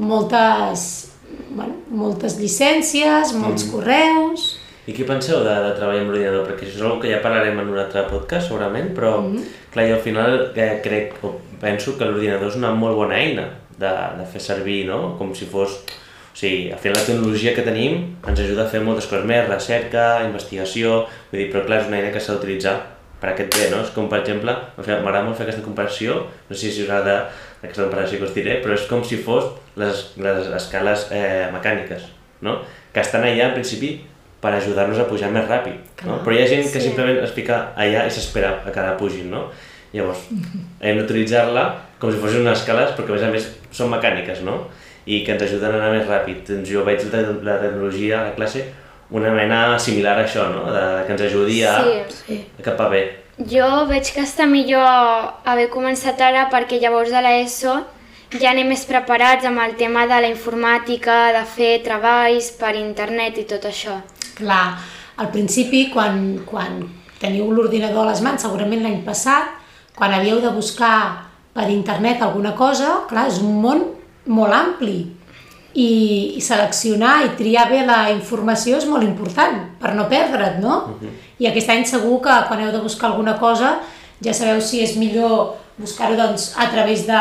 B: moltes, bueno, moltes llicències, molts correus...
A: I què penseu de, de treballar amb l'ordinador? Perquè això és una que ja parlarem en un altre podcast, segurament, però mm -hmm. clar, i al final eh, crec, o penso que l'ordinador és una molt bona eina de, de fer servir, no? Com si fos... O sigui, al final la tecnologia que tenim ens ajuda a fer moltes coses més, recerca, investigació, vull dir, però clar, és una eina que s'ha d'utilitzar per aquest bé, no? És com, per exemple, al final, m'agrada molt fer aquesta comparació, no sé si us agrada aquesta comparació que us diré, però és com si fos les, les escales eh, mecàniques, no? Que estan allà, al principi, per ajudar-nos a pujar més ràpid. No? Però hi ha gent que simplement es fica allà i s'espera a que la pugin, no? Llavors, hem d'utilitzar-la com si fossin unes escales, perquè a més a més són mecàniques, no? i que ens ajuden a anar més ràpid. Doncs jo veig la, la tecnologia a la classe una mena similar a això, no? De, que ens ajudi a,
H: Sí.
A: a cap a bé.
H: Jo veig que està millor haver començat ara perquè llavors a l'ESO ja anem més preparats amb el tema de la informàtica, de fer treballs per internet i tot això.
B: Clar, al principi, quan, quan teniu l'ordinador a les mans, segurament l'any passat, quan havíeu de buscar per internet alguna cosa, clar, és un món molt ampli i, i seleccionar i triar bé la informació és molt important per no perdre't, no? I aquest any segur que quan heu de buscar alguna cosa ja sabeu si és millor buscar-ho doncs, a través de,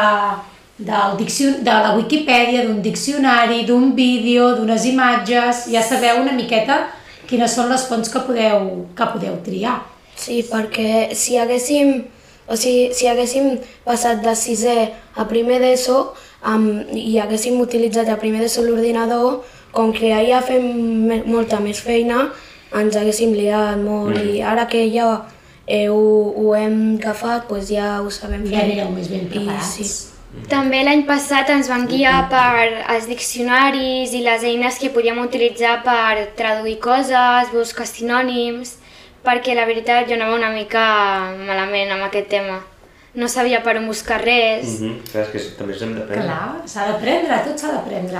B: del diccion... de la Viquipèdia, d'un diccionari, d'un vídeo, d'unes imatges... Ja sabeu una miqueta quines són les fonts que podeu, que podeu triar.
G: Sí, perquè si haguéssim, o sigui, si haguéssim passat de sisè a primer d'ESO um, i haguéssim utilitzat a primer d'ESO l'ordinador, com que ara ja fem me- molta més feina, ens haguéssim liat molt i ara que ja eh, ho, ho hem agafat, doncs ja ho sabem
B: Ja
G: fer.
B: anireu més ben preparats.
G: I, sí.
H: També l'any passat ens van guiar per els diccionaris i les eines que podíem utilitzar per traduir coses, buscar sinònims, perquè la veritat jo anava una mica malament amb aquest tema. No sabia per on buscar res.
A: Mm -hmm. Clar, és que també ens hem d'aprendre.
B: Clar, s'ha d'aprendre, tot s'ha d'aprendre.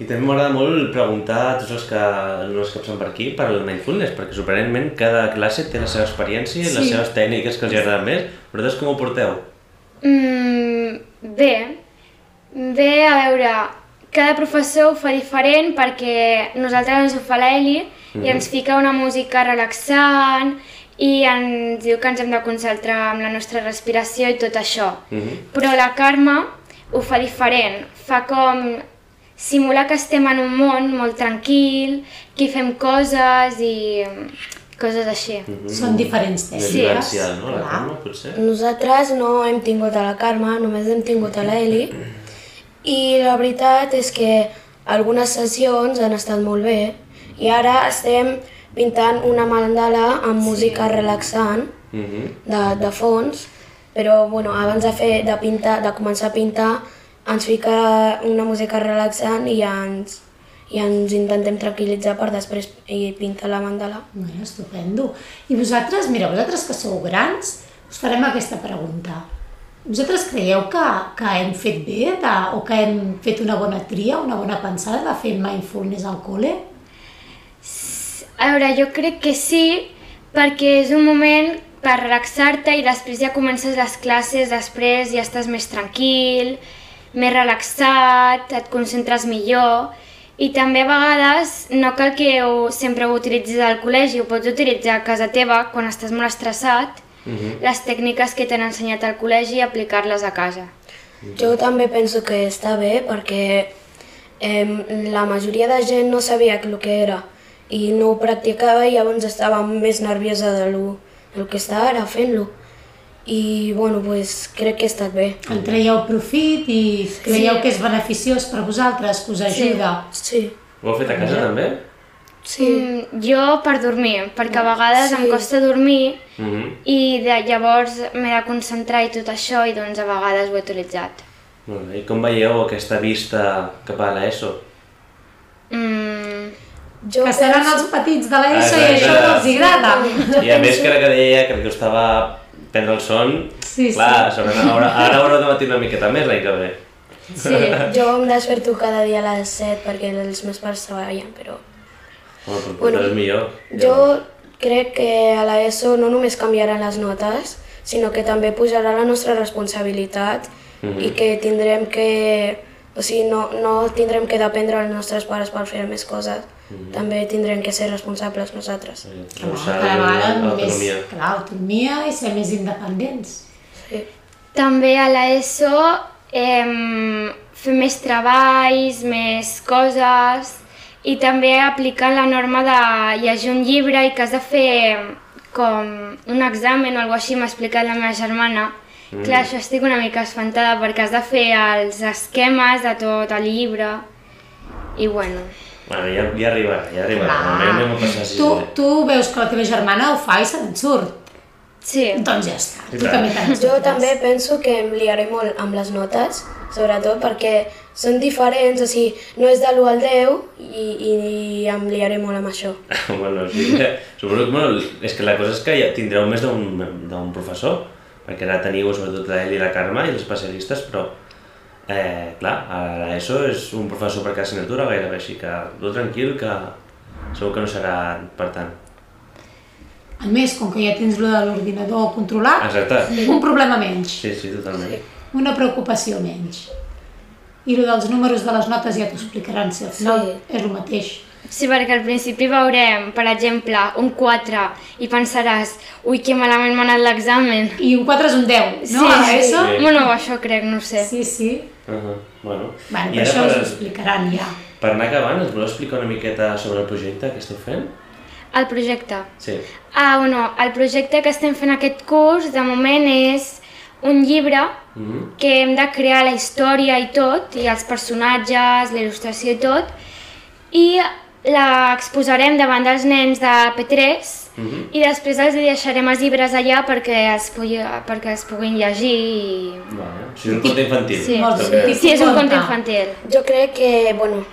A: I també m'agrada molt preguntar a tots els que, els que passen per aquí per al mindfulness, perquè sorprenentment cada classe té la seva experiència i les
B: Sí.
A: seves tècniques que els agraden més. Vosaltres com ho porteu?
H: Mm, bé, bé, a veure, cada professor ho fa diferent perquè nosaltres ens ho fa l'Eli i ens fica una música relaxant i ens diu que ens hem de concentrar amb la nostra respiració i tot això.
A: Mhm.
H: Però la Carme ho fa diferent, fa com simular que estem en un món molt tranquil, que hi fem coses i mm, coses així.
B: Són diferents
A: Més
B: tècniques.
A: vivencial, no? La
B: clar. Mm.
A: Carme, potser?
G: Nosaltres no hem tingut a la Carme, només hem tingut a l'Eli. I la veritat és que algunes sessions han estat molt bé. I ara estem pintant una mandala amb música relaxant
A: Mm -hmm.
G: de, de fons, però bueno, abans de, fer, de, pintar, de començar a pintar ens fica una música relaxant i ja ens, i ens intentem tranquil·litzar per després i pintar la mandala.
B: Bueno, estupendo. I vosaltres, mira, vosaltres que sou grans, us farem aquesta pregunta. Vosaltres creieu que, que hem fet bé de, o que hem fet una bona tria, una bona pensada de fer mindfulness al col·le?
H: A veure, jo crec que sí, perquè és un moment per relaxar-te i després ja comences les classes, després ja estàs més tranquil, més relaxat, et concentres millor i també a vegades no cal que ho, sempre ho utilitzis al col·legi, ho pots utilitzar a casa teva quan estàs molt estressat, les tècniques que t'han ensenyat al col·legi i aplicar-les a casa.
G: Jo també penso que està bé perquè eh, la majoria de gent no sabia el que era i no ho practicava i llavors estava més nerviosa de lo, del que està ara fent-lo. I bueno, pues, crec que ha estat bé.
B: En traieu profit i creieu que és beneficiós per vosaltres, que us ajuda?
G: Sí.
A: Ho heu fet a casa, també?
G: Sí.
H: Mm, jo per dormir, perquè a vegades em costa dormir
A: Mm -hmm.
H: I de, llavors m'he de concentrar i tot això i doncs a vegades ho he utilitzat.
A: Molt bé. I com veieu aquesta vista cap a
B: [laughs]
A: l'ESO?
H: Mm,
G: Jo
B: Que seran els petits de l'ESO i
A: Exacte.
B: això no els agrada.
A: I a més que ara que deia que li costava prendre el son,
B: Sí,
A: clar, sí. Ara, ara haureu de matir una miqueta més l'any que ve.
G: Sí, jo em desperto cada dia a les 7 perquè els meus pares treballen, però...
A: Bueno, però
G: Bueno,
A: bueno, és millor.
G: Jo crec que a l'ESO no només canviaran les notes, sinó que també pujarà la nostra responsabilitat
A: Mhm.
G: i que tindrem que... O sigui, no, no tindrem que dependre dels nostres pares per fer més coses. També tindrem que ser responsables nosaltres.
A: Clar,
B: Cada vegada més,
A: l'autonomia.
B: clar, autonomia i ser més independents.
G: Sí.
H: també a l'ESO em, fer més treballs, més coses i també aplicant la norma de llegir un llibre i que has de fer com un examen o alguna així, m'ha explicat la meva germana. Mm. Clar, això estic una mica espantada perquè has de fer els esquemes de tot el llibre i bueno...
A: Bueno, ja, ja arribarà, ja arribarà.
B: Clar.
A: eh? Normalment anem a passar a sisè.
B: Tu, tu veus que la teva germana ho fa i se'n surt.
H: Sí.
B: Doncs ja està.
A: I
B: Tu
A: tant.
B: també te n'has
G: Jo
B: dubtes.
G: també penso que em liaré molt amb les notes, sobretot perquè són diferents, o sigui, no és de l'1 al 10 i, i, em liaré molt amb això.
A: [laughs] bueno, sí, que- suposo que, bueno, és que la cosa és que ja tindreu més d'un d'un professor, perquè ara teniu sobretot l'Eli i la Carme i els especialistes, però eh, clar, a l'ESO és un professor per cada assignatura gairebé, així que tu tranquil que segur que no serà per tant.
B: A més, com que ja tens lo de l'ordinador controlat,
A: Exacte.
B: un problema menys,
A: Sí, sí, totalment.
B: una preocupació menys. I lo dels números de les notes ja t'ho explicaran si al final
G: Sí.
B: és el mateix.
H: Sí, perquè al principi veurem, per exemple, un 4 i pensaràs, ui, que malament m'ha anat l'examen.
B: I un 4 és un 10, no? a l'ESO?
A: Sí.
H: Bueno, això crec, no ho sé.
B: Sí, sí.
A: Uh -huh. Bueno,
B: Bueno,
A: i ara
B: però això us ho
A: per,
B: explicaran ja.
A: per anar acabant, ens voleu explicar una miqueta sobre el projecte que esteu fent?
H: El projecte.
A: Sí.
H: Ah, bueno, el projecte que estem fent aquest curs, de moment, és un llibre
A: Mm -hmm.
H: que hem de crear la història i tot, i els personatges, la il·lustració i tot, i l'exposarem davant dels nens de P3
A: Mhm.
H: i després els hi deixarem els llibres allà perquè es, pugui, perquè es puguin llegir i...
A: Vale. O sigui, és un conte infantil.
H: Sí.
B: Molt
A: També.
B: bé.
H: Sí, és un conte
B: Conte.
H: infantil.
G: Jo crec que, bueno,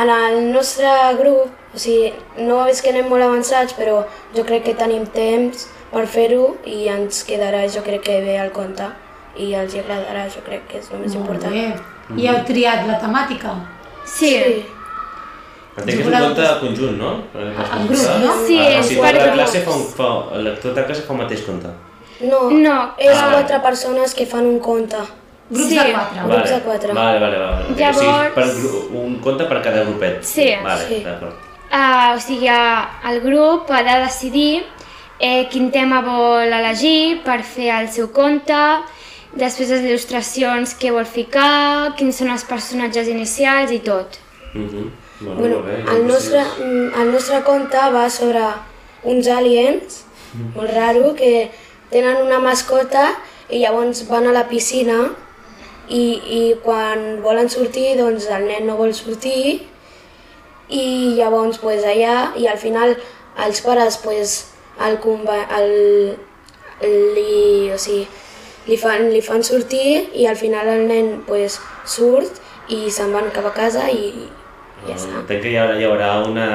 G: en el nostre grup, o sigui, no és que anem molt avançats, però jo crec que tenim temps per fer-ho i ens quedarà, jo crec que bé al compte i els hi agradarà, jo crec que és el més
B: Molt
G: important.
B: bé.
A: Mm.
B: I heu triat la temàtica?
H: Sí. sí.
A: Entenc que és un
B: Voleu-
A: conte conjunt, no?
B: En grup, no?
H: Sí,
A: ah,
H: és
A: sí, tota
H: per
A: la
H: grups.
A: classe fa, un, fa, la, tota la classe fa un mateix conte.
G: No,
H: No.
G: és
A: Ah.
G: quatre persones que fan un compte.
B: Grups
H: Sí.
B: de 4.
G: Grups de quatre.
A: Vale, vale, vale. vale.
H: Llavors-
A: O sigui, per gru- un conte per cada grupet.
H: Sí.
A: Vale,
G: Sí.
A: d'acord.
H: Uh, o sigui, eh, el grup ha de decidir eh, quin tema vol elegir per fer el seu conte, després les il·lustracions que vol ficar, quins són els personatges inicials i tot.
A: Mhm. bueno,
G: Bueno,
A: molt bé. Ah,
G: el nostre,
A: Sí.
G: mm, el nostre conte va sobre uns aliens
A: Mm.
G: molt raro que tenen una mascota i llavors van a la piscina i, i quan volen sortir doncs el nen no vol sortir i llavors pues, allà i al final els pares pues, el, conva- el, li, o sigui, li, fan, li fan sortir i al final el nen pues, surt i se'n van cap a casa i, i ja està.
A: Entenc que hi haurà, hi haurà una...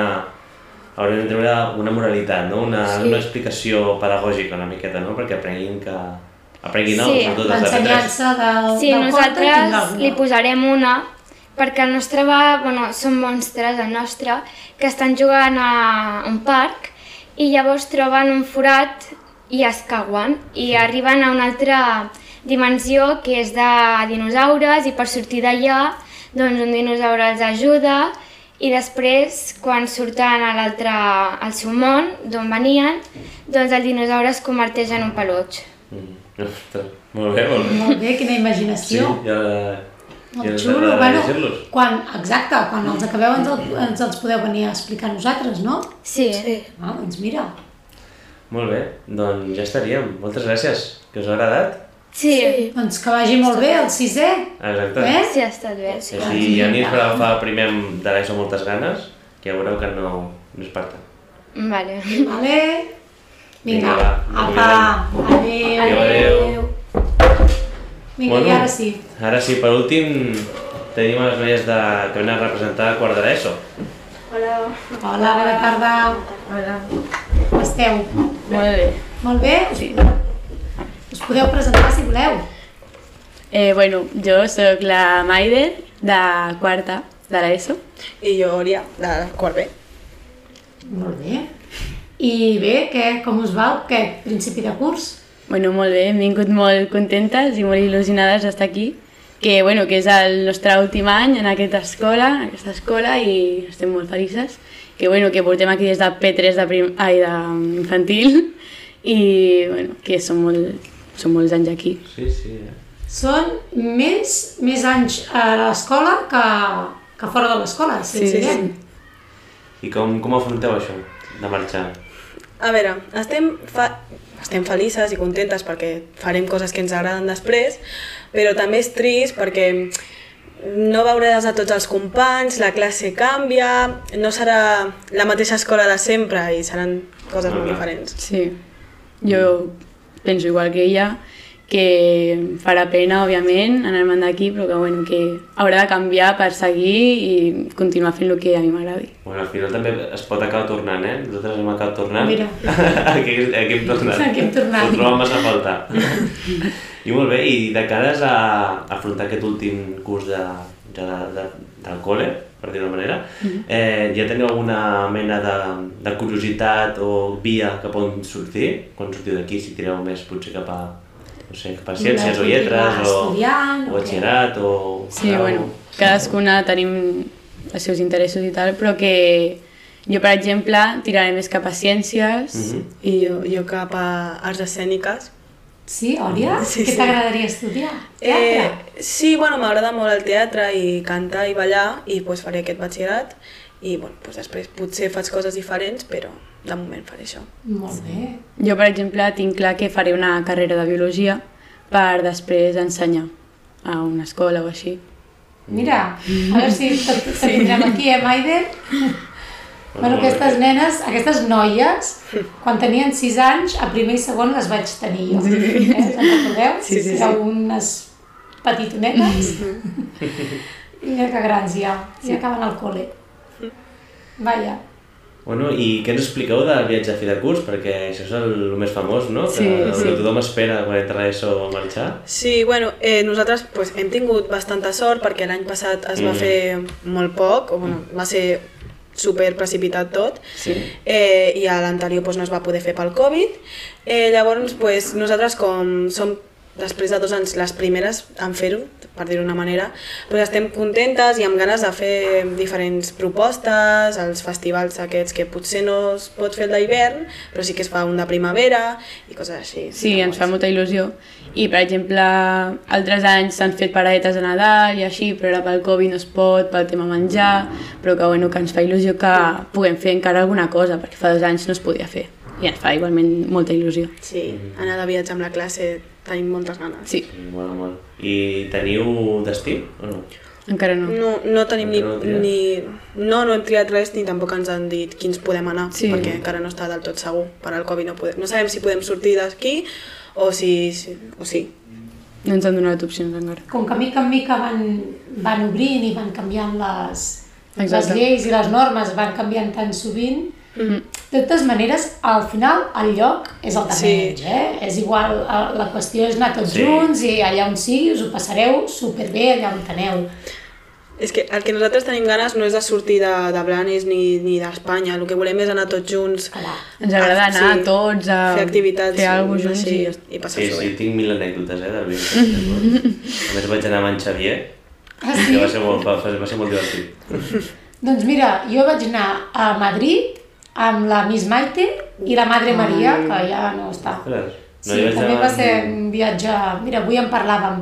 A: Haurem de treure una moralitat, no? Una,
G: Sí.
A: una explicació pedagògica una miqueta, no? Perquè aprenguin que... Aprenguin, no?
H: Sí,
A: Sobretot els de P3.
B: L'ensenyança del,
H: Sí,
B: del conte tindrà
H: nosaltres
B: alguna.
H: li posarem una, perquè el nostre va, bueno, són monstres, el nostre, que estan jugant a un parc i llavors troben un forat i es cauen i arriben a una altra dimensió que és de dinosaures i per sortir d'allà doncs un dinosaure els ajuda i després quan surten a l'altre, al seu món d'on venien, doncs el dinosaure es converteix en un peluig.
A: Mm. Ostres, Molt bé, molt bé.
B: Molt bé, quina
A: Sí,
B: imaginació.
A: ja... ja
B: Molt
A: ens
B: xulo.
A: agradarà
B: Bueno,
A: llegir-los.
B: quan, exacte, quan els acabeu ens, el, ens els podeu venir a explicar a nosaltres, no?
H: Sí.
B: Ah, doncs mira,
A: Molt bé, doncs ja estaríem. Moltes gràcies, que us ha agradat.
H: Sí. sí.
B: doncs que vagi molt bé el sisè.
A: Exacte.
B: Eh?
H: Sí, ha estat bé.
A: Sí, si a mi ens va agafar primer de l'ESO moltes ganes, que ja veureu que no, no és per tant.
H: Vale.
B: Vale. Vinga,
A: Vinga, va.
B: apa, adéu.
A: Adéu, adéu.
B: Vinga, i ara sí.
A: Ara sí, per últim, tenim a les noies de, que venen a representar quart de l'ESO.
B: Hola, bona tarda. Hola. Com esteu?
I: Molt bé.
B: Molt bé? Sí. Us podeu presentar si voleu.
I: Eh, bueno, jo sóc la Maide, de quarta de l'ESO.
J: I jo, Orià, de quart B.
B: Molt bé. I bé, què, com us va aquest principi de curs?
I: Bueno, molt bé, hem vingut molt contentes i molt il·lusionades d'estar aquí, que, bueno, que és el nostre últim any en aquesta escola, en aquesta escola i estem molt felices, que, bueno, que portem aquí des de P3 de prim... Ai, de infantil i bueno, que són, molt, són molts anys aquí.
A: Sí, sí. eh?
B: Són més, més anys a l'escola que, que fora de l'escola, si sí, sí,
A: I com, com afronteu això, de marxar?
J: A veure, estem, fa... estem felices i contentes perquè farem coses que ens agraden després, però també és trist perquè no veuràs a tots els companys, la classe canvia, no serà la mateixa escola de sempre i seran coses molt
A: Ah.
J: diferents.
I: Sí, jo penso igual que ella, que farà pena, òbviament, anar-me'n d'aquí, però que, bueno, que haurà de canviar per seguir i continuar fent el que a mi m'agradi.
A: Bueno, al final també es pot acabar tornant, eh? Nosaltres hem acabat tornant. [laughs]
B: Mira.
A: aquí, aquí hem tornat.
B: Aquí hem tornat.
A: Ho trobem massa a
B: [laughs]
A: faltar. I molt bé, i de cares a afrontar aquest últim curs de, ja de, de, del col·le, per dir-ho d'una manera,
B: Mhm.
A: eh, ja teniu alguna mena de, de curiositat o via cap on sortir? Quan sortiu d'aquí, si tireu més potser cap a, no sé, cap a ciències o
B: Voleu
A: lletres o,
B: continuar estudiant,
A: o
B: o què?
A: batxillerat o...
I: Sí,
A: grau?
I: bueno, cadascuna tenim els seus interessos i tal, però que jo, per exemple, tiraré més cap a ciències mm
A: Mhm.
I: i jo,
J: Jo cap a arts escèniques.
B: Sí, Òria?
J: Sí,
B: Què
J: sí.
B: t'agradaria estudiar?
J: Eh,
B: Teatre?
J: sí, bueno, m'agrada molt el teatre i cantar i ballar i pues, faré aquest batxillerat i bueno, pues, després potser faig coses diferents, però de moment faré això.
B: Molt bé.
I: jo, per exemple, tinc clar que faré una carrera de biologia per després ensenyar a una escola o així.
B: Mira, a veure si tot, tot tindrem aquí, eh, Maiden? Bueno, aquestes nenes, aquestes noies, quan tenien 6 anys, a primer i segon les vaig tenir jo. Sí. Eh? Us en recordeu? Sí, sí, Mm. sí. Algunes petitonetes. I mira que grans ja, ja acaben al col·le. Mm. Vaja.
A: Bueno, i què ens expliqueu del viatge a fi de curs? Perquè això és el, el més famós, no? Sí, que, sí. Que tothom espera quan entra a ESO a marxar.
J: Sí, bueno, eh, nosaltres pues, hem tingut bastanta sort perquè l'any passat es va
A: Mm.
J: fer molt poc, o, bueno, va ser super precipitat tot
A: Sí.
J: eh, i a l'anterior pues, no es va poder fer pel Covid. Eh, llavors, pues, nosaltres com som després de dos anys les primeres en fer-ho, per dir-ho d'una manera, pues, estem contentes i amb ganes de fer diferents propostes, els festivals aquests que potser no es pot fer el d'hivern, però sí que es fa un de primavera i coses així.
I: Sí, ens fa molta il·lusió. I, per exemple, altres anys s'han fet paradetes a Nadal i així, però ara pel Covid no es pot, pel tema menjar, però que, bueno, que ens fa il·lusió que puguem fer encara alguna cosa, perquè fa dos anys no es podia fer. I ens fa igualment molta il·lusió.
J: Sí,
A: Mm-hmm.
J: anar de viatge amb la classe tenim moltes ganes.
I: Sí,
A: Sí, Bueno, bueno. I teniu destí o no?
I: encara no.
J: No, no tenim ni,
A: No heu triat.
J: ni... No, no hem triat res ni tampoc ens han dit quins podem anar,
I: Sí.
J: sí. perquè encara no està del tot segur. Per al Covid no podem... No sabem si podem sortir d'aquí o si... si o sí.
I: No ens han donat opcions encara.
B: Com que mica en mica van, van obrint i van canviant les, les
I: Exacte.
B: lleis i les normes, van canviant tan sovint, De totes maneres, al final, el lloc és el de
J: Sí.
B: menys, eh? És igual, eh, la qüestió és anar tots
A: Sí.
B: sí. junts i allà on sigui us ho passareu superbé allà on aneu.
J: És que el que nosaltres tenim ganes no és de sortir de, de Blanes ni, ni d'Espanya, el que volem és anar tots junts.
B: Clar.
I: Ens
J: Ah,
I: agrada anar a tots, a
J: fer activitats,
I: fer alguna cosa junts
J: sí,
I: i ja
J: i, i
A: Sí,
J: passar-s'ho
A: sí,
J: bé.
A: tinc mil anècdotes, eh, del viatge. a més vaig anar amb en Xavier,
B: Ah,
A: que
B: sí?
A: va ser molt, va, va ser molt divertit.
B: Doncs mira, jo vaig anar a Madrid amb la Miss Maite i la Madre Maria, que ja no està.
A: Ostres,
B: No, Ah. sí, també va ser un viatge... Mira, avui en parlàvem.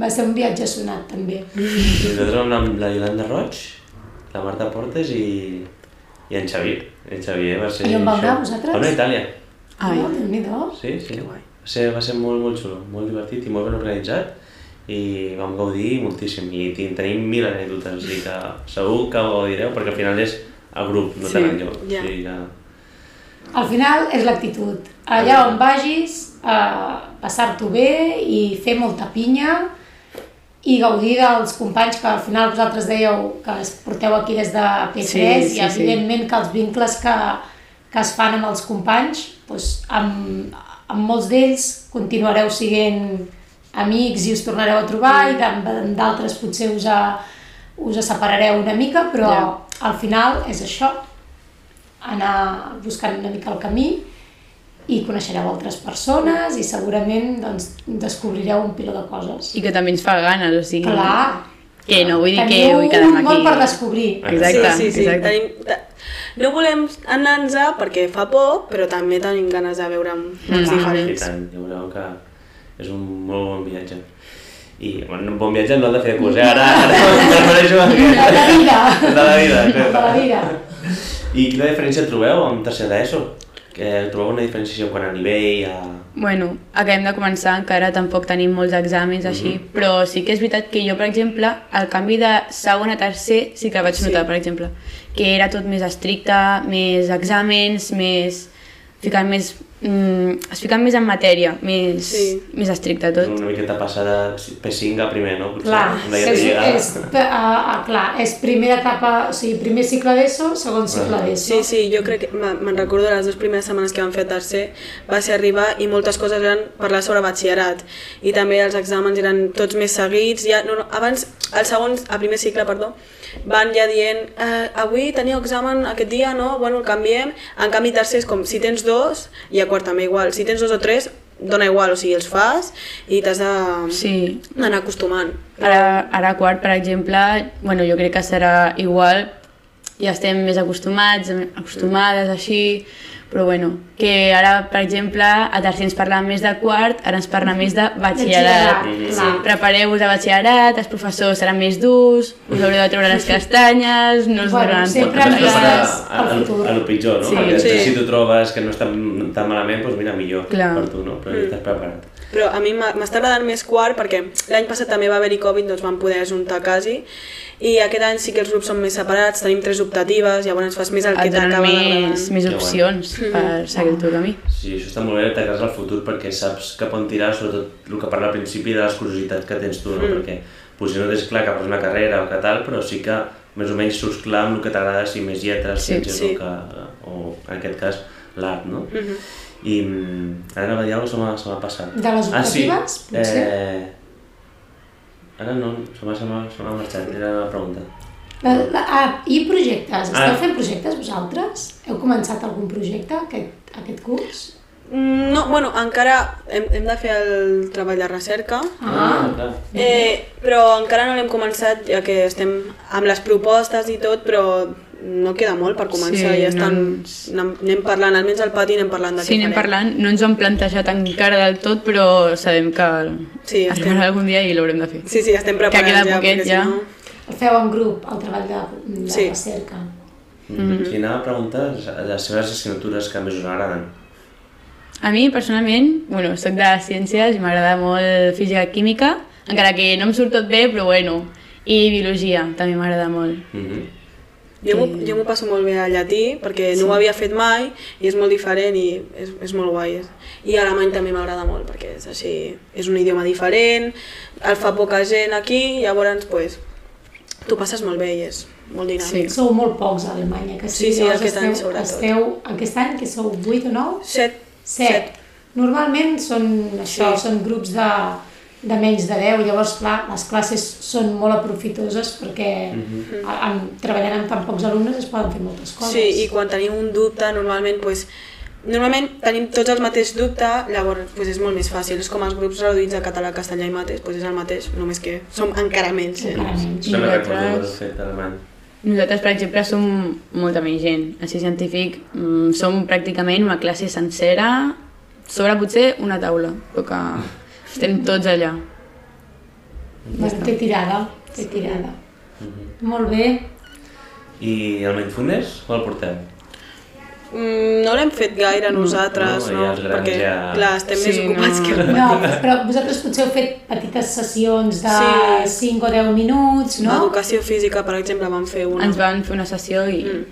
B: Va ser un viatge sonat, també.
A: Nosaltres vam anar amb la Yolanda Roig, la Marta Portes i, i en Xavier. En Xavier va ser...
B: I on vau anar,
A: això.
B: vosaltres?
A: Vam anar a Itàlia.
I: Ai.
B: No, Déu-n'hi-do.
A: Sí, sí. Va ser, va ser molt, molt xulo, molt divertit i molt ben organitzat i vam gaudir moltíssim i tin- tenim mil anècdotes, o sigui que segur que ho gaudireu perquè al final és el grup, no sí, tant jo.
J: ja.
A: O sigui que...
B: Al final és l'actitud. Allà on vagis, eh, passar-t'ho bé i fer molta pinya i gaudir dels companys que al final vosaltres dèieu que es porteu aquí des de P3
I: Sí,
B: i
I: sí, sí.
B: evidentment que els vincles que, que es fan amb els companys, doncs amb, amb molts d'ells continuareu siguent amics i us tornareu a trobar mm. i d'am- amb d'altres potser us, a, us a separareu una mica, però
I: Ja.
B: al final és això, anar buscant una mica el camí i coneixereu altres persones i segurament doncs, descobrireu un piló de coses.
I: I que també ens fa ganes, o sigui...
B: Clar,
I: Que no vull dir que
B: teniu
I: vull quedar-me
B: un
I: aquí.
B: món per descobrir.
I: Exacte,
J: sí, sí, sí.
I: exacte.
J: Tenim, te- no volem anar-nos perquè fa por, però també tenim ganes de veure mons
A: I
I: Mm.
J: diferents.
A: tant, ja veureu que és un molt bon viatge. I, bueno, un bon viatge no el de fer de curs, eh? Ara,
B: [laughs]
A: ara, ara, ara,
B: De la vida.
A: [laughs] De la vida,
B: De la vida.
A: I quina diferència trobeu amb tercer d'ESO? Que trobeu una diferència quan a nivell, a...
I: Bueno, acabem de començar, encara tampoc tenim molts exàmens així, però sí que és veritat que jo, per exemple, el canvi de segon a tercer sí que el vaig notar, per exemple, que era tot més estricte, més exàmens, més ficant més, mm, es ficant més en matèria, més, sí. més estricte tot.
A: Una miqueta passar de P5 a primer, no? Potser
B: Clar,
A: una idea
B: és,
A: lligada.
B: és, ah, ah, clar, és primera etapa, o sigui, primer cicle d'ESO, segon cicle d'ESO.
J: Sí, sí, jo crec que me- me'n recordo de les dues primeres setmanes que vam fer tercer, va ser arribar i moltes coses eren parlar sobre batxillerat i també els exàmens eren tots més seguits, ja, no, no, abans, el segon, el primer cicle, perdó, van ja dient, eh, avui teniu examen aquest dia, no, bueno, el canviem, en canvi tercer és com, si tens dos, i a quart també igual, si tens dos o tres, dona igual, o sigui, els fas i t'has de-
I: Sí.
J: d'anar acostumant.
I: Ara, ara a quart, per exemple, bueno, jo crec que serà igual, ja estem més acostumats, acostumades així, però bueno, que ara, per exemple, a tercer ens parla més de quart, ara ens parla més de batxillerat.
B: Batxillerat,
I: Sí.
B: clar.
I: Prepareu-vos a batxillerat, els professors seran més durs, us haureu de treure les castanyes, no us
B: Bueno,
I: donaran
A: Pot
B: sempre
I: tantes
A: preparar
B: miraràs
I: coses.
A: a, a,
B: el futur.
A: a lo pitjor, no?
I: Sí.
A: Perquè després
J: Sí.
A: si tu trobes que no està tan malament, doncs mira, millor
I: Clar.
A: per tu, no? Però mm. estàs preparat.
J: Però a mi m'ha- m'està agradant més quart perquè l'any passat també va haver-hi Covid, doncs vam poder juntar quasi, i aquest any sí que els grups són més separats, tenim tres optatives, llavors fas més el que
I: Et donen
J: t'acaba
I: més,
J: d'agradar.
I: més
A: Que
I: opcions per seguir el teu camí.
A: Sí, això està molt bé, t'agrades al futur perquè saps cap on tirar, sobretot el que parla al principi de les curiositats que tens tu, no? Mm. Perquè potser no tens clar cap a una carrera o que tal, però sí que més o menys surts clar amb el que t'agrada, si més lletres,
I: Sí,
A: sí, ciències
J: sí.
A: sí. o, que, o en aquest cas l'art, no? Mm -hmm. I mm, ara va dir alguna cosa, se m'ha- se m'ha passat.
B: De les
A: ah,
B: optatives,
A: sí.
B: potser?
A: Eh... Ara no, se m'ha- se m'ha se m'ha marxat, era la pregunta.
B: La, la, ah, I projectes? Esteu
A: Ah.
B: fent projectes vosaltres? Heu començat algun projecte aquest, aquest curs?
J: Mm, No, bueno, encara hem, hem de fer el treball de recerca,
A: Ah, clar.
J: eh, però encara no l'hem començat, ja que estem amb les propostes i tot, però no queda molt per començar,
I: Sí,
J: ja estan,
I: no
J: anem, anem parlant, almenys al pati anem parlant de
I: Sí,
J: què
I: anem
J: farem.
I: parlant, no ens ho hem plantejat encara del tot, però sabem que
J: Sí, estem-
I: arribarà algun dia i l'haurem de fer.
J: Sí, sí, estem
I: Que
J: preparant
I: queda
J: ja,
I: poquet,
J: perquè
I: ja.
J: si no...
B: El feu en grup, el treball de, de
J: Sí.
B: recerca?
A: Mm -hmm. Sí, anava a preguntar les seves assignatures que més us agraden.
I: A mi, personalment, bueno, soc de ciències i m'agrada molt física i química, encara que no em surt tot bé, però bueno, i biologia també m'agrada molt.
A: Mm -hmm.
J: Jo m'ho jo m'ho passo molt bé a llatí perquè no ho havia fet mai i és molt diferent i és, és molt guai. I alemany també m'agrada molt perquè és així, és un idioma diferent, el fa poca gent aquí, llavors pues, t'ho passes molt bé i és molt dinàmic.
I: Sí.
B: Sou molt pocs a Alemanya, que
J: Sí, sí,
B: llavors
J: aquest any
B: esteu,
J: sobretot.
B: esteu, aquest any que sou 8 o 9?
J: Set.
B: 7. Normalment són això,
J: Sí.
B: són grups de, de menys de 10, llavors clar, les classes són molt aprofitoses perquè a- amb, treballant amb tan pocs alumnes es poden fer moltes coses.
J: Mhm. Sí, i quan tenim un dubte normalment pues, Normalment tenim tots el mateix dubte, llavors pues, és molt més fàcil. És com els grups reduïts a català, castellà i mates, pues, és el mateix, només que som encara menys. Eh?
B: Encara menys.
A: Sembla que
I: Nosaltres-
A: recordo haver fet alemany.
I: Nosaltres, per exemple, som molta més gent. Així científic, mm, som pràcticament una classe sencera, sobre potser una taula, però que estem tots allà.
B: Bueno, té tirada, té tirada.
J: Mhm.
B: Molt bé.
A: I el Mindfulness, com el portem?
J: Mm, no l'hem fet gaire nosaltres,
A: No,
J: no,
A: ja els grans
J: perquè
A: ja-
J: clar, estem
I: Sí,
J: més ocupats
I: no.
J: que el
B: No, però vosaltres potser heu fet petites sessions de
J: Sí.
B: 5 o 10 minuts,
J: no?
B: no?
J: Educació física, per exemple, vam fer una. Mm.
I: Ens van fer una sessió i...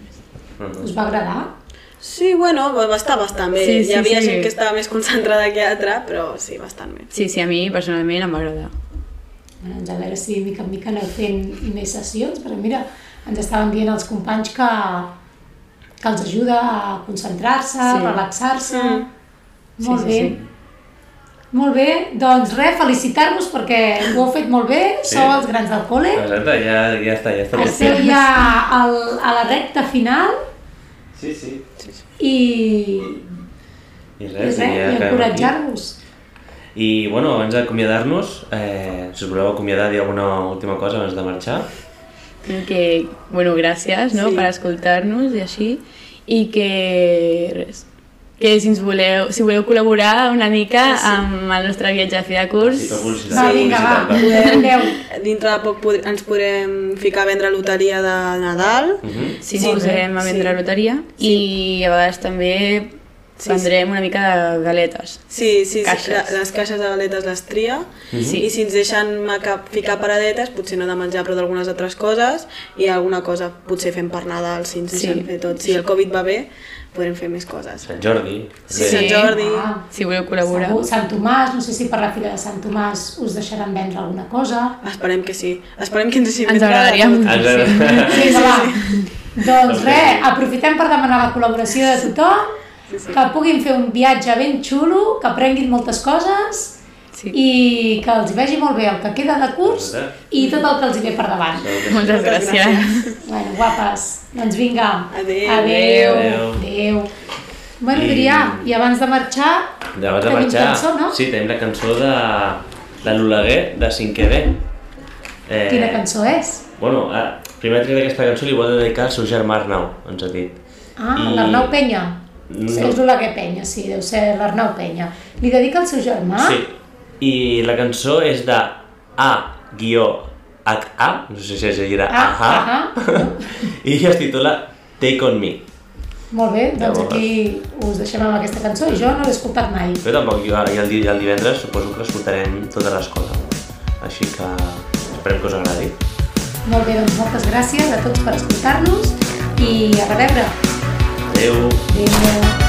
B: Us va agradar?
J: Sí, bueno, va va estar bastant bé.
I: Sí, sí,
J: Hi havia
I: sí.
J: gent que estava més concentrada que altra, però sí, bastant bé.
I: Sí, sí, a mi personalment em va agradar.
B: Bueno, doncs a veure si de mica en mica aneu fent més sessions, perquè mira, ens estaven dient els companys que, que els ajuda a concentrar-se, sí.
I: Sí.
B: relaxar-se. Mm. Molt
I: Sí, sí,
B: bé.
I: sí.
B: Molt bé, doncs res, felicitar-vos perquè ho heu fet molt bé,
A: Sí.
B: sou els grans del col·le,
A: Exacte, ja, ja està, ja està. Ja
B: esteu
A: està.
B: ja al, a la recta final
A: Sí, sí.
B: i,
A: I
B: i
A: res,
B: res, i
A: acabem
B: encoratjar-vos.
A: aquí. I bueno, abans d'acomiadar-nos, eh, si us voleu acomiadar, dir alguna última cosa abans de marxar.
I: I que, bueno, gràcies no?
J: Sí.
I: sí. per escoltar-nos i així, i que res, que si ens voleu, si voleu col·laborar una mica sí. amb el nostre viatge a fi de curs,
A: Sí, per publicitat.
B: Va,
A: per
B: vinga,
A: publicitat,
B: va, adeu.
J: Dintre de poc pod ens podrem ficar a vendre loteria de Nadal.
A: Mhm.
J: Sí,
I: sí, sí, posarem a vendre
J: sí.
I: sí. loteria sí. i a vegades també
J: Sí,
I: sí, vendrem una mica de galetes.
J: Sí, sí, sí
I: Caixes.
J: la- les caixes de galetes les tria
A: Mhm.
I: Sí.
J: i si ens deixen maca- ficar paradetes, potser no de menjar però d'algunes altres coses i alguna cosa potser fem per Nadal si ens
I: Sí.
J: deixen fer tot. Si el Covid va bé, podrem fer més coses.
A: Sant Jordi.
J: Sí, Sant Jordi.
B: Ah.
I: Si voleu col·laborar.
B: Segur, Sant Tomàs, no sé si per la fira de Sant Tomàs us deixaran vendre alguna cosa.
J: Esperem que sí. Esperem que ens deixi
I: Ens agradaria
A: Ah,
I: moltíssim.
B: Sí, va, va. Doncs res, aprofitem per demanar la col·laboració de tothom, que puguin fer un viatge ben xulo, que aprenguin moltes coses
I: Sí.
B: i que els hi vagi molt bé el que queda de curs
A: Molt
B: i tot el que els hi ve per davant.
A: Doncs
I: Moltes gràcies.
B: Bueno, guapes, doncs vinga.
J: Adéu.
B: Adéu.
A: Adéu.
B: Adéu. Bueno,
A: I-
B: Adrià, i abans de marxar,
A: Llavors de
B: Tenim
A: marxar...
B: cançó, no?
A: Sí, tenim la cançó de la Lulaguer de 5 B. Eh,
B: quina cançó és?
A: Bueno, ah, primer ha tret aquesta cançó li vol dedicar al seu germà Arnau, ens ha dit.
B: Ah,
A: I-
B: l'Arnau Penya.
A: No.
B: Sí, és l'Oleguer Penya, sí, deu ser l'Arnau Penya. Li dedica al seu germà?
A: Sí. I la cançó és de A-H-A, no sé si es llegirà
B: Ah,
A: Aha,
B: ah,
A: [laughs] i es titula Take On Me.
B: Molt bé, doncs
A: Llavors.
B: aquí us deixem amb aquesta cançó i jo no l'he escoltat mai.
A: Jo tampoc, jo ara i el, di- i el divendres suposo que escoltarem tota l'escola. Així que esperem que us agradi.
B: Molt bé, doncs moltes gràcies a tots per escoltar-nos i a reveure.
A: Adéu!
B: Adéu.